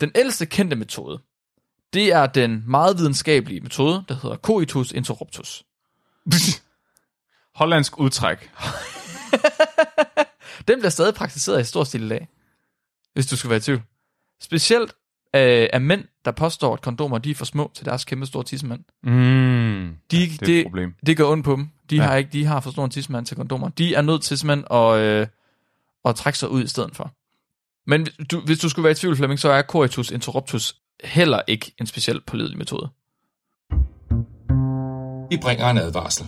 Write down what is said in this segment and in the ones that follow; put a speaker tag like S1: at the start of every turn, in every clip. S1: Den ældste kendte metode, det er den meget videnskabelige metode, der hedder coitus interruptus.
S2: Hollandsk udtræk.
S1: Den bliver stadig praktiseret i stor stil i dag, hvis du skal være i tvivl. Specielt øh, af mænd, der påstår, at kondomer de er for små til deres kæmpe store tissemand.
S2: Mm.
S1: De,
S2: Det er et
S1: det,
S2: problem.
S1: det, gør ondt på dem. De,
S2: Ja.
S1: ja. har ikke, de har for stor en tidsmand til kondomer. De er nødt til simpelthen at, øh, at trække sig ud i stedet for. Men hvis du, hvis du skulle være i tvivl, Flemming, så er coitus interruptus heller ikke en specielt pålidelig metode.
S3: Vi bringer en advarsel.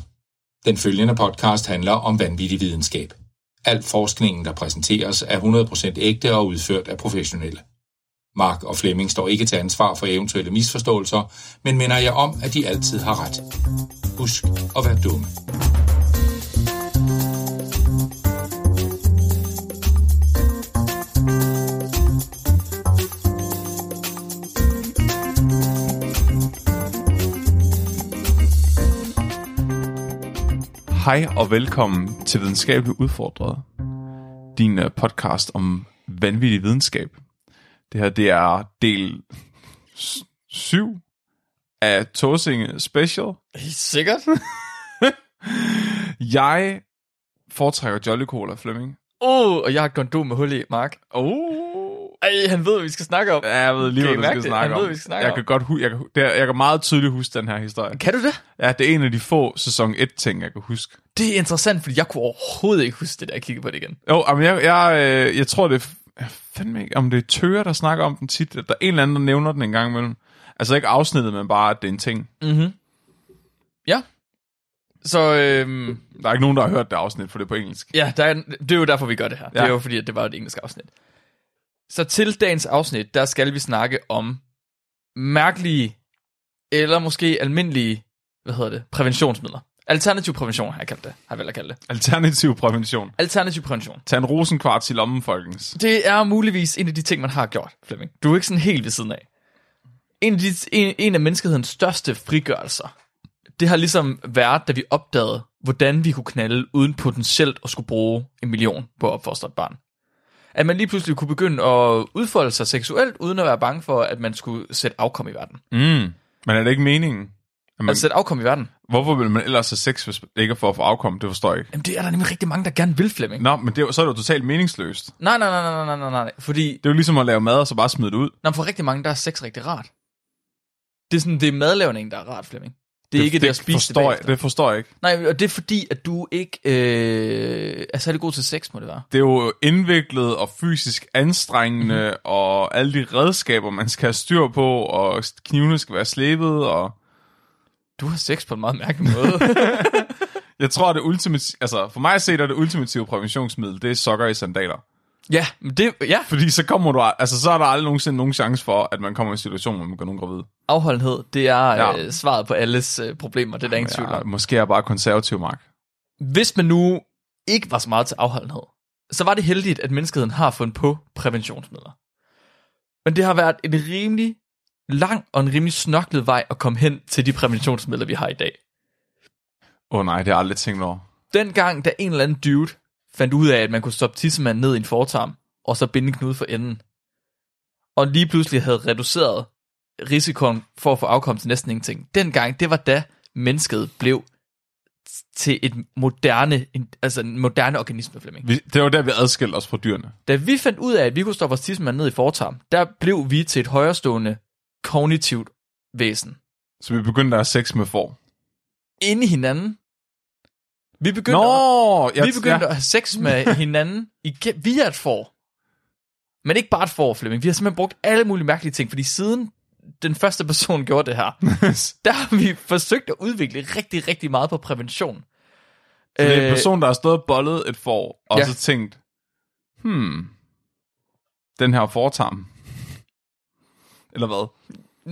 S3: Den følgende podcast handler om vanvittig videnskab. Al forskningen, der præsenteres, er 100% ægte og udført af professionelle. Mark og Flemming står ikke til ansvar for eventuelle misforståelser, men minder jeg om, at de altid har ret. Husk at være dumme.
S2: Hej og velkommen til Videnskabeligt Udfordret. Din øh, podcast om vanvittig videnskab. Det her, det er del 7 af Torsinge Special.
S1: Sikkert?
S2: Jeg foretrækker Jolly Cola, Flemming.
S1: Åh, oh, og jeg har et kondom med hul i, Mark.
S2: Oh.
S1: Ej, han ved, hvad vi skal snakke om.
S2: Ja, jeg ved lige,
S1: Uh. Kan I
S2: hvad vi
S1: mærke
S2: skal
S1: det?
S2: snakke
S1: Han ved,
S2: om.
S1: hvad vi skal snakke
S2: jeg
S1: om.
S2: kan godt hu- jeg, kan, hu- det er, jeg kan meget tydeligt huske den her historie.
S1: Kan du det?
S2: Ja, det er en af de få sæson 1 ting, jeg kan huske.
S1: Det er interessant, fordi jeg kunne overhovedet ikke huske det, da jeg kiggede på det igen.
S2: Jo, men jeg, jeg, øh, jeg tror, det er, f- jeg fandme ikke, om det er Tøger, der snakker om den tit, at der er en eller anden, der nævner den en gang imellem. Altså ikke afsnittet, men bare, at det er en ting.
S1: Mhm. Ja. Så øhm,
S2: Der er ikke nogen, der har hørt det afsnit, for det er på engelsk.
S1: ja, der er, det er jo derfor, vi gør det her. Ja. Det
S2: Ja.
S1: er jo fordi, at det var et engelsk afsnit. Så til dagens afsnit, der skal vi snakke om mærkelige, eller måske almindelige, hvad hedder det, præventionsmidler. Alternativ prævention har jeg kaldt det, har jeg vel at kalde det.
S2: Alternativ prævention.
S1: Alternativ prævention.
S2: Tag en rosenkvarts i lommen, folkens.
S1: Det er muligvis en af de ting, man har gjort, Flemming. Du er ikke sådan helt ved siden af. En af, de, en, en af menneskehedens største frigørelser, det har ligesom været, da vi opdagede, hvordan vi kunne knalde uden potentielt at skulle bruge en million på at opfostre et barn. At man lige pludselig kunne begynde at udfolde sig seksuelt, uden at være bange for, at man skulle sætte afkom i verden.
S2: Mm. Men er det ikke meningen? At man,
S1: Altså sætte afkom i verden.
S2: hvorfor vil man ellers have sex, hvis man ikke er for at få afkom? Det forstår jeg ikke.
S1: Jamen det er der nemlig rigtig mange, der gerne vil, Flemming.
S2: Nå, men det, er jo- så er det jo totalt meningsløst.
S1: Nej, nej, nej, nej, nej, nej, nej, nej. Fordi
S2: Det er jo ligesom at lave mad, og så bare smide det ud.
S1: Nå, men for rigtig mange, der er sex rigtig rart. Det er sådan, det er madlavningen, der er rart, Flemming. Det er det, ikke det, det at spise det,
S2: forstår jeg,
S1: bagefter.
S2: det forstår jeg ikke.
S1: Nej, og det er fordi, at du ikke øh, er særlig god til sex, må det være.
S2: det er jo indviklet og fysisk anstrengende,
S1: Mhm.
S2: mm-hmm. og alle de redskaber, man skal have styr på, og knivene skal være slebet, og
S1: Du har sex på en meget mærkelig måde.
S2: jeg tror, at det ultimative, altså for mig at se, der er det ultimative præventionsmiddel, det er sokker i sandaler.
S1: ja, men det, ja,
S2: Fordi så kommer du, altså så er der aldrig nogensinde nogen chance for, at man kommer i en situation, hvor man gør nogen gravid.
S1: afholdenhed, det er
S2: Ja.
S1: øh, svaret på alles øh, problemer, det er der ingen tvivl
S2: Ja,
S1: om.
S2: måske er jeg bare konservativ, Mark.
S1: Hvis man nu ikke var så meget til afholdenhed, så var det heldigt, at menneskeheden har fundet på præventionsmidler. Men det har været en rimelig lang og en rimelig snoklet vej at komme hen til de præventionsmidler, vi har i dag.
S2: Åh oh, nej, det har jeg aldrig tænkt over.
S1: dengang, da en eller anden dude fandt ud af, at man kunne stoppe tissemand ned i en fortarm, og så binde en knude for enden, og lige pludselig havde reduceret risikoen for at få afkomst til næsten ingenting. Dengang, det var da mennesket blev t- til et moderne, en, altså en moderne organisme, Flemming.
S2: Vi, det var der, vi adskilte os fra dyrene.
S1: Da vi fandt ud af, at vi kunne stoppe vores tissemand ned i fortarm, der blev vi til et højrestående kognitivt væsen.
S2: Så vi begyndte at have sex med får.
S1: Inde i hinanden. Vi begyndte at-
S2: Nå,
S1: vi begyndte at have sex med hinanden igen, via et får. Men ikke bare et får, Flemming. Vi har simpelthen brugt alle mulige mærkelige ting, fordi siden den første person gjorde det her, der har vi forsøgt at udvikle rigtig, rigtig meget på prævention.
S2: Så det er en
S1: Øh,
S2: person, der har stået og bollet et får, og
S1: Ja.
S2: ja. så tænkt, hmm, den her fortarm. Eller hvad?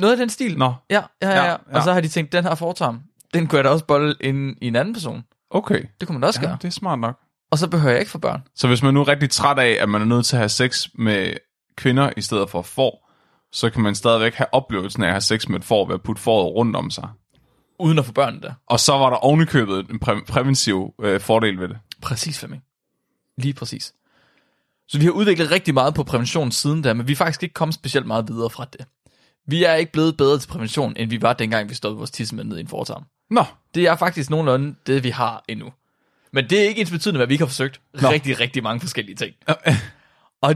S1: Noget af den stil.
S2: Nå,
S1: Ja, ja, ja,
S2: Ja,
S1: ja.
S2: ja.
S1: Og så har de tænkt, den her fortarm, den kunne jeg da også bolle en, i en anden person.
S2: okay.
S1: Det kunne man også ja,
S2: Ja,
S1: gøre.
S2: det er smart nok.
S1: Og så behøver jeg ikke få børn.
S2: Så hvis man nu er rigtig træt af, at man er nødt til at have sex med kvinder i stedet for får, så kan man stadigvæk have oplevelsen af at have sex med et får ved at putte fåret rundt om sig.
S1: Uden at få børn der.
S2: Og så var der ovenikøbet en præ- præventiv øh, fordel ved det.
S1: Præcis, Flemming. Lige præcis. Så vi har udviklet rigtig meget på prævention siden da, men vi er faktisk ikke kommet specielt meget videre fra det. Vi er ikke blevet bedre til prævention, end vi var dengang, vi stoppede vores tissemænd ned i en fortarm.
S2: Nå,
S1: Det er faktisk nogenlunde det, vi har endnu. Men det er ikke ens betydende, hvad vi ikke har forsøgt. Nå. Rigtig, rigtig mange forskellige ting. Og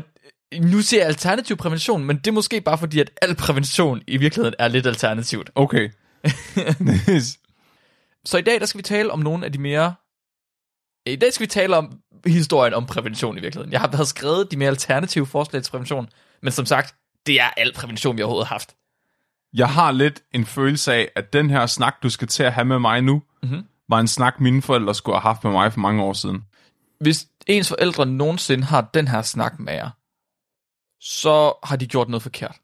S1: nu ser jeg alternativ prævention, men det er måske bare fordi, at al prævention i virkeligheden er lidt alternativt.
S2: okay.
S1: Så i dag, der skal vi tale om nogle af de mere... I dag skal vi tale om historien om prævention i virkeligheden. Jeg har havde skrevet de mere alternative forslag til prævention, men som sagt, det er al prævention, vi overhovedet har haft.
S2: jeg har lidt en følelse af, at den her snak, du skal til at have med mig nu, mm-hmm. var en snak, mine forældre skulle have haft med mig for mange år siden.
S1: Hvis ens forældre nogensinde har den her snak med jer, så har de gjort noget forkert.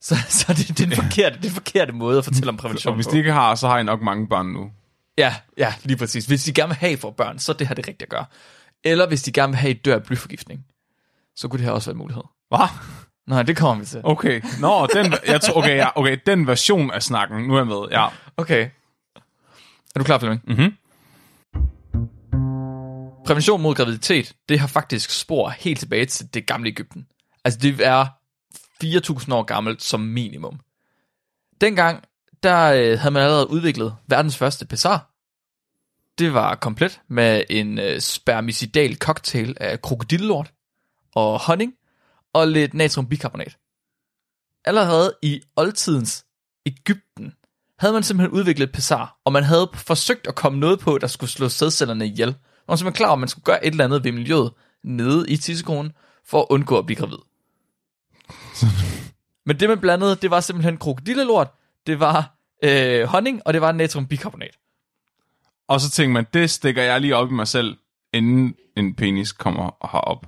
S1: Så, så det, det, er den forkerte, det er den forkerte måde at fortælle om prævention
S2: Og hvis
S1: på.
S2: de ikke har, så har jeg nok mange børn nu.
S1: Ja, ja, lige præcis. Hvis de gerne vil have for børn, så er det her det rigtigt at gøre. Eller hvis de gerne vil have et dør af blyforgiftning, så kunne det her også være en mulighed.
S2: Hvad?
S1: Nej, det kommer vi til.
S2: Okay. Nå, den, jeg tror, okay, ja, okay, den version af snakken, nu er jeg med. Ja.
S1: Okay. Er du klar, Flemming? Mm-hmm. Prævention mod graviditet, det har faktisk spor helt tilbage til det gamle Ægypten. Altså det er 4.000 år gammelt som minimum. Dengang, der øh, havde man allerede udviklet verdens første pessar. Det var komplet med en øh, spermicidal cocktail af krokodillort og honning og lidt natriumbikarbonat. Allerede i oldtidens Ægypten havde man simpelthen udviklet Pessar, og man havde forsøgt at komme noget på, der skulle slå sædcellerne ihjel. Man var simpelthen klar, over, at man skulle gøre et eller andet ved miljøet nede i tissekronen, for at undgå at blive gravid. Men det, man blandede, det var simpelthen krokodillelort, det var øh, honning, og det var natriumbikarbonat.
S2: Og så tænkte man, det stikker jeg lige op i mig selv, inden en penis kommer herop.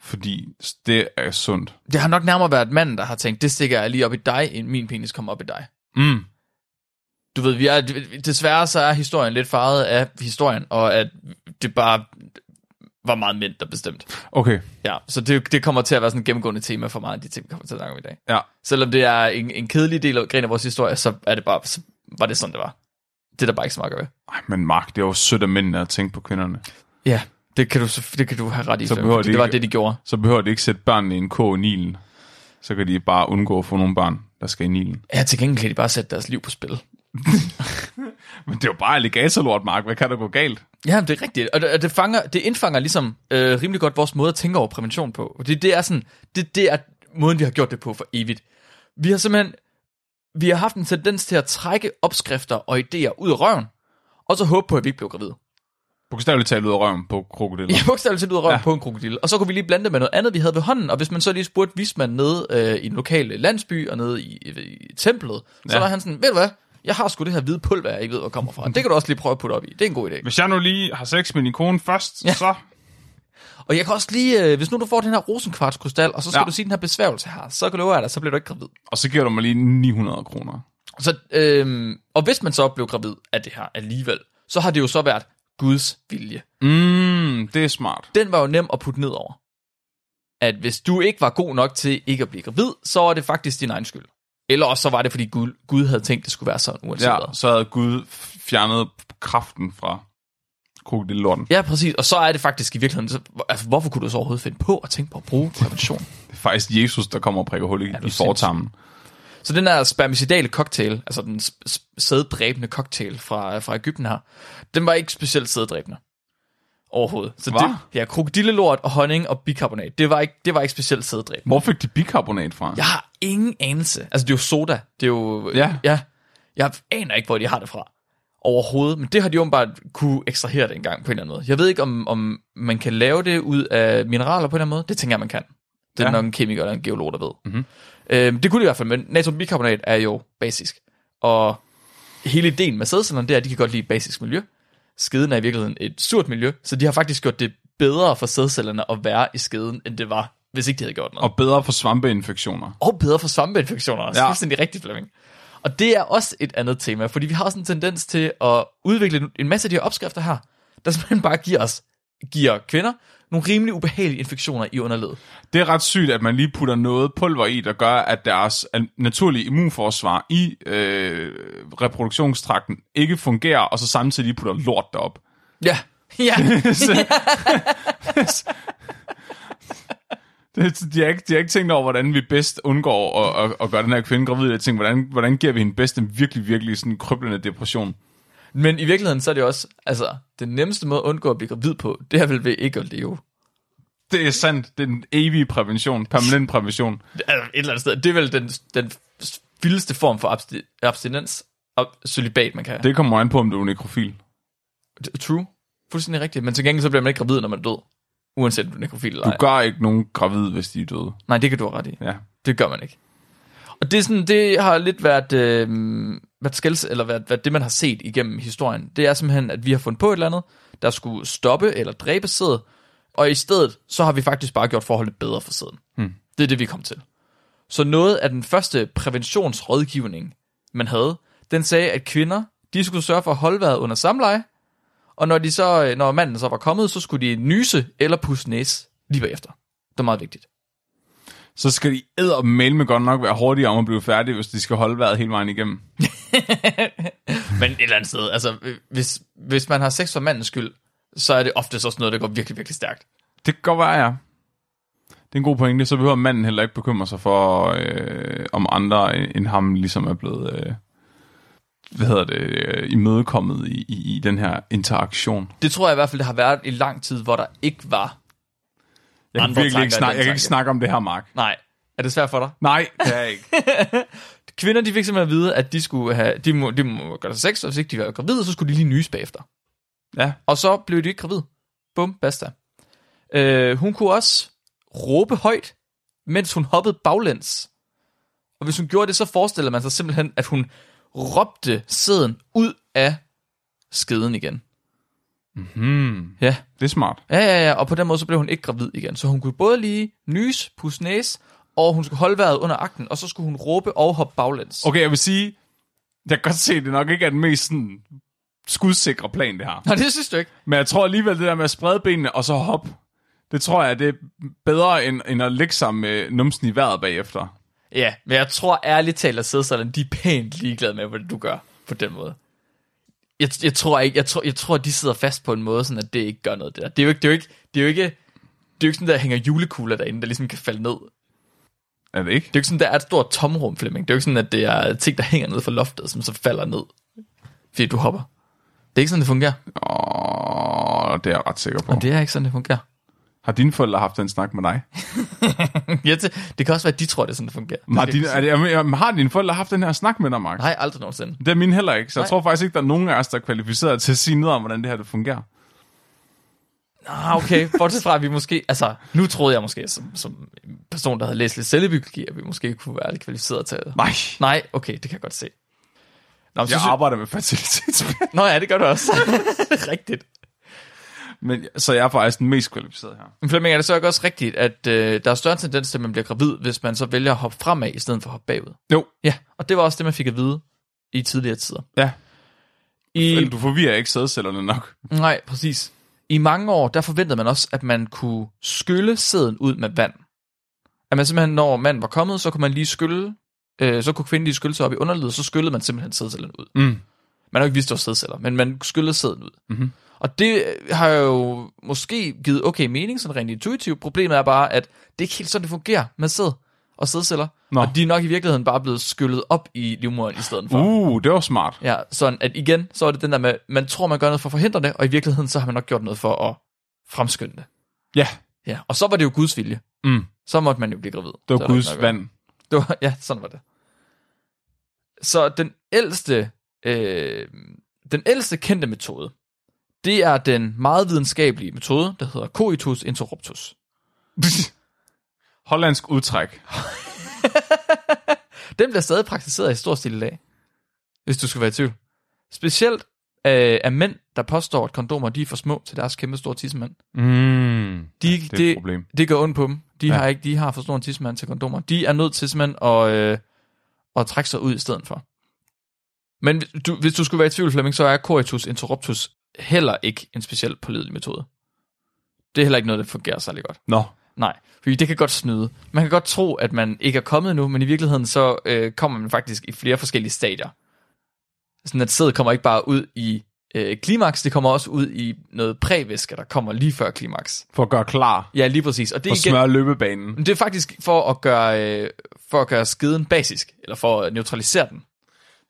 S2: Fordi det er sundt.
S1: Det har nok nærmere været manden, der har tænkt, det stikker jeg lige op i dig, end min penis kommer op i dig.
S2: Mm.
S1: du ved, vi er, desværre så er historien lidt farvet af historien, og at det bare var meget mænd, der bestemte.
S2: Okay,
S1: Ja, så det, det kommer til at være sådan et gennemgående tema for meget af de ting, vi kommer til at snakke om i dag.
S2: ja.
S1: Selvom det er en, en kedelig del af, gren af vores historie, så, er det bare, så var det sådan, det var. Det er der bare ikke så meget at gøre ved.
S2: Ej, men Mark, det er jo sødt af mændene at tænke på kvinderne.
S1: Ja, det kan du, så- det kan du have ret i. Så
S2: behøver de
S1: det var
S2: ikke-
S1: det, de gjorde.
S2: Så behøver de ikke sætte børnene i en kog i Nilen. Så kan de bare undgå at få nogle børn, der skal i Nilen.
S1: Ja, til gengæld kan de bare sætte deres liv på spil.
S2: Men det er jo bare alligatorlort, Mark. Hvad kan der gå galt?
S1: Ja, men det er rigtigt. Og det, og det, fanger, det indfanger ligesom øh, rimelig godt vores måde at tænke over prævention på. Fordi det er sådan, det, det er måden, vi har gjort det på for evigt. Vi har simpelthen, vi har haft en tendens til at trække opskrifter og idéer ud af røven, og så håbe på, at vi ikke blev gravid.
S2: Bogstaveligt talt ud af røven på krokodiller.
S1: Ja, bogstaveligt talt ud af røven ja. på en krokodil. Og så kunne vi lige blande det med noget andet, vi havde ved hånden. Og hvis man så lige spurgte vismanden nede øh, i den lokale landsby og nede i, i, i templet, så
S2: Ja.
S1: var han sådan, ved du hvad, jeg har sgu det her hvide pulver, jeg ikke ved, hvor det kommer fra. Det kan du også lige prøve at putte op i. Det er en god idé.
S2: Hvis jeg nu lige har sex med din kone først, ja. så...
S1: Og jeg kan også lige, øh, hvis nu du får den her rosenkvartskrystal, og så skal ja.
S2: Ja.
S1: du sige den her besværgelse her, så kan du love dig, så bliver du ikke gravid.
S2: Og så giver du mig lige 900 kroner.
S1: Så, øh, og hvis man så blev gravid af det her alligevel, så har det jo så været Guds vilje.
S2: Mm, det er smart.
S1: Den var jo nem at putte ned over. At hvis du ikke var god nok til ikke at blive gravid, så var det faktisk din egen skyld. Eller også så var det, fordi Gud, Gud havde tænkt, det skulle være sådan, uanset
S2: Ja,
S1: ja. hvad.
S2: så havde Gud fjernet kraften fra krokodillorten.
S1: Ja, præcis. Og så er det faktisk i virkeligheden, så, altså, hvorfor kunne du så overhovedet finde på at tænke på at bruge prævention?
S2: Det er faktisk Jesus, der kommer og prikker hul i,
S1: du
S2: i fortarmen.
S1: Så den her spermicidale cocktail, altså den s- s- sæddræbende cocktail fra, fra Ægypten her, den var ikke specielt sæddræbende overhovedet. Så
S2: Hva?
S1: det, ja, krokodillelort og honning og bikarbonat, det var ikke, det var ikke specielt sæddræbende.
S2: Hvor fik de bikarbonat fra?
S1: Jeg har ingen anelse. Altså, det er jo soda. Det er jo...
S2: Ja.
S1: ja jeg aner ikke, hvor de har det fra overhovedet, men det har de åbenbart kunne ekstrahere det engang på en eller anden måde. Jeg ved ikke, om, om man kan lave det ud af mineraler på en eller anden måde. Det tænker jeg, man kan. Det er ja.
S2: Ja.
S1: nok en kemiker eller en geolog, der ved. Mm-hmm. Øhm, det kunne de i hvert fald, men natriumbikarbonat er jo basisk. Og hele ideen med sædcellerne, det er, at de kan godt lide basisk miljø. Skeden er i virkeligheden et surt miljø, så de har faktisk gjort det bedre for sædcellerne at være i skeden, end det var, hvis ikke de havde gjort noget
S2: Og bedre for svampeinfektioner.
S1: og bedre for svampeinfektioner. Det er
S2: Ja.
S1: fuldstændig rigtigt, Flemming. Og det er også et andet tema, fordi vi har også en tendens til at udvikle en masse af de her opskrifter her, der simpelthen bare giver os, giver kvinder, nogle rimelig ubehagelige infektioner i underledet.
S2: Det er ret sygt, at man lige putter noget pulver i, der gør, at deres al- naturlige immunforsvar i øh, reproduktionstrakten ikke fungerer, og så samtidig lige putter lort derop.
S1: Ja. Ja.
S2: Så- Det, de, har ikke, de har ikke tænkt over, hvordan vi bedst undgår at, at, at gøre den her kvinde gravid. Jeg tænkte, hvordan, hvordan giver vi hende bedst en virkelig, virkelig sådan kryblende depression?
S1: Men i virkeligheden, så er det også, altså, den nemmeste måde at undgå at blive gravid på, det er vel ved ikke at leve.
S2: Det er sandt. Det er den evige prævention. Permanent prævention.
S1: Altså, et eller andet sted. Det er vel den, den vildeste form for absti- abstinens og celibat, man kan have.
S2: Det kommer an på, om du er nekrofil.
S1: Det... True. Fuldstændig rigtigt. Men til gengæld, så bliver man ikke gravid, når man er død. Uanset om du er nekrofil eller
S2: Du
S1: ej.
S2: gør ikke nogen gravid, hvis de er døde.
S1: Nej, det kan du have ret i.
S2: Ja.
S1: Det gør man ikke. Og det, er sådan, det har lidt været, øh, været skælds, eller været, været, det, man har set igennem historien. Det er simpelthen, at vi har fundet på et eller andet, der skulle stoppe eller dræbe sædet, og i stedet, så har vi faktisk bare gjort forholdet bedre for sæden. Hmm. Det er det, vi kom til. Så noget af den første præventionsrådgivning, man havde, den sagde, at kvinder, de skulle sørge for at holde vejret under samleje, og når, de så, når manden så var kommet, så skulle de nyse eller pusse næse lige bagefter. Det er meget vigtigt.
S2: Så skal de eddermale med godt nok være hurtigere om at blive færdige, hvis de skal holde vejret hele vejen igennem.
S1: Men et eller andet sted, altså, øh, hvis, hvis man har sex for mandens skyld, så er det ofte så sådan noget, der går virkelig, virkelig stærkt.
S2: Det kan godt være, ja. Det er en god pointe. Så behøver manden heller ikke bekymre sig for, øh, om andre end- end ham ligesom er blevet øh, hvad hedder det, øh, imødekommet i, i, i den her interaktion.
S1: Det tror jeg i hvert fald, det har været i lang tid, hvor der ikke var.
S2: Jeg kan
S1: Andre
S2: virkelig
S1: tanker
S2: ikke
S1: end
S2: snakke,
S1: den
S2: jeg kan ikke
S1: tanke.
S2: snakke om det her, Mark.
S1: Nej, er det svært for dig?
S2: Nej, det er jeg ikke.
S1: Kvinder, de fik simpelthen at vide, at de skulle have, de må, de må gøre sig sex, og hvis ikke de var gravide, så skulle de lige nyse bagefter.
S2: Ja.
S1: Og så blev de ikke gravid. Bum, basta. Øh, hun kunne også råbe højt, mens hun hoppede baglæns. Og hvis hun gjorde det, så forestiller man sig simpelthen, at hun råbte sæden ud af skeden igen.
S2: Hmm,
S1: Ja.
S2: det er smart.
S1: Ja, ja, ja, og på den måde så blev hun ikke gravid igen. Så hun kunne både lige nys, pusse næse, og hun skulle holde vejret under akten, og så skulle hun råbe og hoppe baglæns.
S2: Okay, jeg vil sige, jeg kan godt se, det nok ikke er den mest sådan, skudsikre plan, det her.
S1: Nå, det synes du ikke.
S2: Men jeg tror alligevel, det der med at sprede benene og så hoppe, det tror jeg, det er bedre end, end at ligge sig med numsen i vejret bagefter.
S1: Ja, men jeg tror ærligt talt, at sidde sådan, de er pænt ligeglade med, hvad du gør på den måde. Jeg, jeg tror ikke, jeg tror, jeg tror, de sidder fast på en måde, sådan at det ikke gør noget det der. Det er jo ikke, det er jo ikke, det er jo ikke, det er jo ikke sådan, der hænger julekugler derinde, der ligesom kan falde ned.
S2: Er det ikke?
S1: Det er jo ikke sådan, der er et stort tomrum, Flemming. Det er jo ikke sådan, at det er ting, der hænger ned fra loftet, som så falder ned, fordi du hopper. Det er ikke sådan, det fungerer.
S2: Åh, det er jeg ret sikker på.
S1: Og
S2: Det...
S1: det er ikke sådan, det fungerer.
S2: Har dine forældre haft en snak med dig?
S1: ja, det, det kan også være, at de tror, det er sådan, det fungerer. Det
S2: Har,
S1: skal
S2: din,
S1: jeg
S2: er det, jamen, har dine forældre haft den her snak med dig, Mark?
S1: ikke- Nej, aldrig nogensinde.
S2: Det er mine heller ikke, så jeg
S1: Nej.
S2: tror faktisk ikke, der er nogen af os, der er kvalificeret til at sige noget om, hvordan det her det fungerer.
S1: Ah, okay. Bortset fra, at vi måske... Altså, nu troede jeg måske, som, som en person, der havde læst lidt selvbiologi, at vi måske kunne være lidt kvalificeret til...
S2: Nej,
S1: Nej, okay, det kan jeg godt se. Nå, men så
S2: jeg
S1: sy-
S2: arbejder med fertilitetsbehandling,
S1: Nå ja, det gør du også. Det er rigtigt.
S2: men, så jeg er faktisk den mest kvalificerede her.
S1: Men Flemming, er det så ikke også rigtigt, at øh, der er større tendens til, at man bliver gravid, hvis man så vælger at hoppe fremad, i stedet for at hoppe bagud?
S2: Jo.
S1: Ja, og det var også det, man fik at vide i tidligere tider.
S2: Ja.
S1: I,
S2: Men du forvirrer ikke sædcellerne nok.
S1: Nej, præcis. I mange år, der forventede man også, at man kunne skylle sæden ud med vand. At man simpelthen, når manden var kommet, så kunne man lige skylle, øh, så kunne kvinden lige skylle sig op i underlivet, så skyllede man simpelthen sædcellen ud.
S2: Mm.
S1: Man har jo ikke vidst, at det var sædceller, men man skyllede sæden ud. Mm-hmm. Og det øh, har jo måske givet okay mening, sådan rent intuitivt. Problemet er bare, at det er ikke helt sådan, det fungerer med sæd og sædceller.
S2: Nå.
S1: Og de er nok i virkeligheden bare blevet skyllet op i livmoderen i stedet for.
S2: Uh, det var smart.
S1: Ja, sådan at igen, så er det den der med, man tror, man gør noget for at forhindre det, og i virkeligheden, så har man nok gjort noget for at fremskynde det.
S2: Ja,
S1: Ja, og så var det jo Guds vilje.
S2: Mm.
S1: Så måtte man jo blive gravid.
S2: det
S1: Så
S2: var
S1: er
S2: Guds
S1: nok-
S2: vand.
S1: Det var, ja, sådan var det. Så den ældste, øh, den ældste kendte metode, det er den meget videnskabelige metode, der hedder coitus interruptus.
S2: Hollandsk udtræk.
S1: Den bliver stadig praktiseret i stor stil i dag, hvis du skal være i tvivl. Specielt øh, af mænd, der påstår, at kondomer de er for små til deres kæmpe store tissemand.
S2: Mm.
S1: De, ja,
S2: det er et
S1: det,
S2: problem.
S1: det gør ondt på dem. De,
S2: Ja.
S1: ja. har ikke, de har for stor en tidsmand til kondomer. De er nødt til simpelthen at, øh, at trække sig ud i stedet for. Men hvis du, hvis du skulle være i tvivl, Flemming, så er coitus interruptus heller ikke en specielt pålidelig metode. Det er heller ikke noget, der fungerer særlig godt.
S2: Nå,
S1: Nej, fordi det kan godt snyde. Man kan godt tro, at man ikke er kommet nu, men i virkeligheden så øh, kommer man faktisk i flere forskellige stadier. Sådan at sædet kommer ikke bare ud i øh, klimaks, det kommer også ud i noget prævæske, der kommer lige før klimaks.
S2: For at gøre klar
S1: Ja, lige præcis. Og det
S2: og
S1: er, igen,
S2: smøre løbebanen.
S1: men det er faktisk for at gøre, øh, for at gøre skeden basisk, eller for at neutralisere den.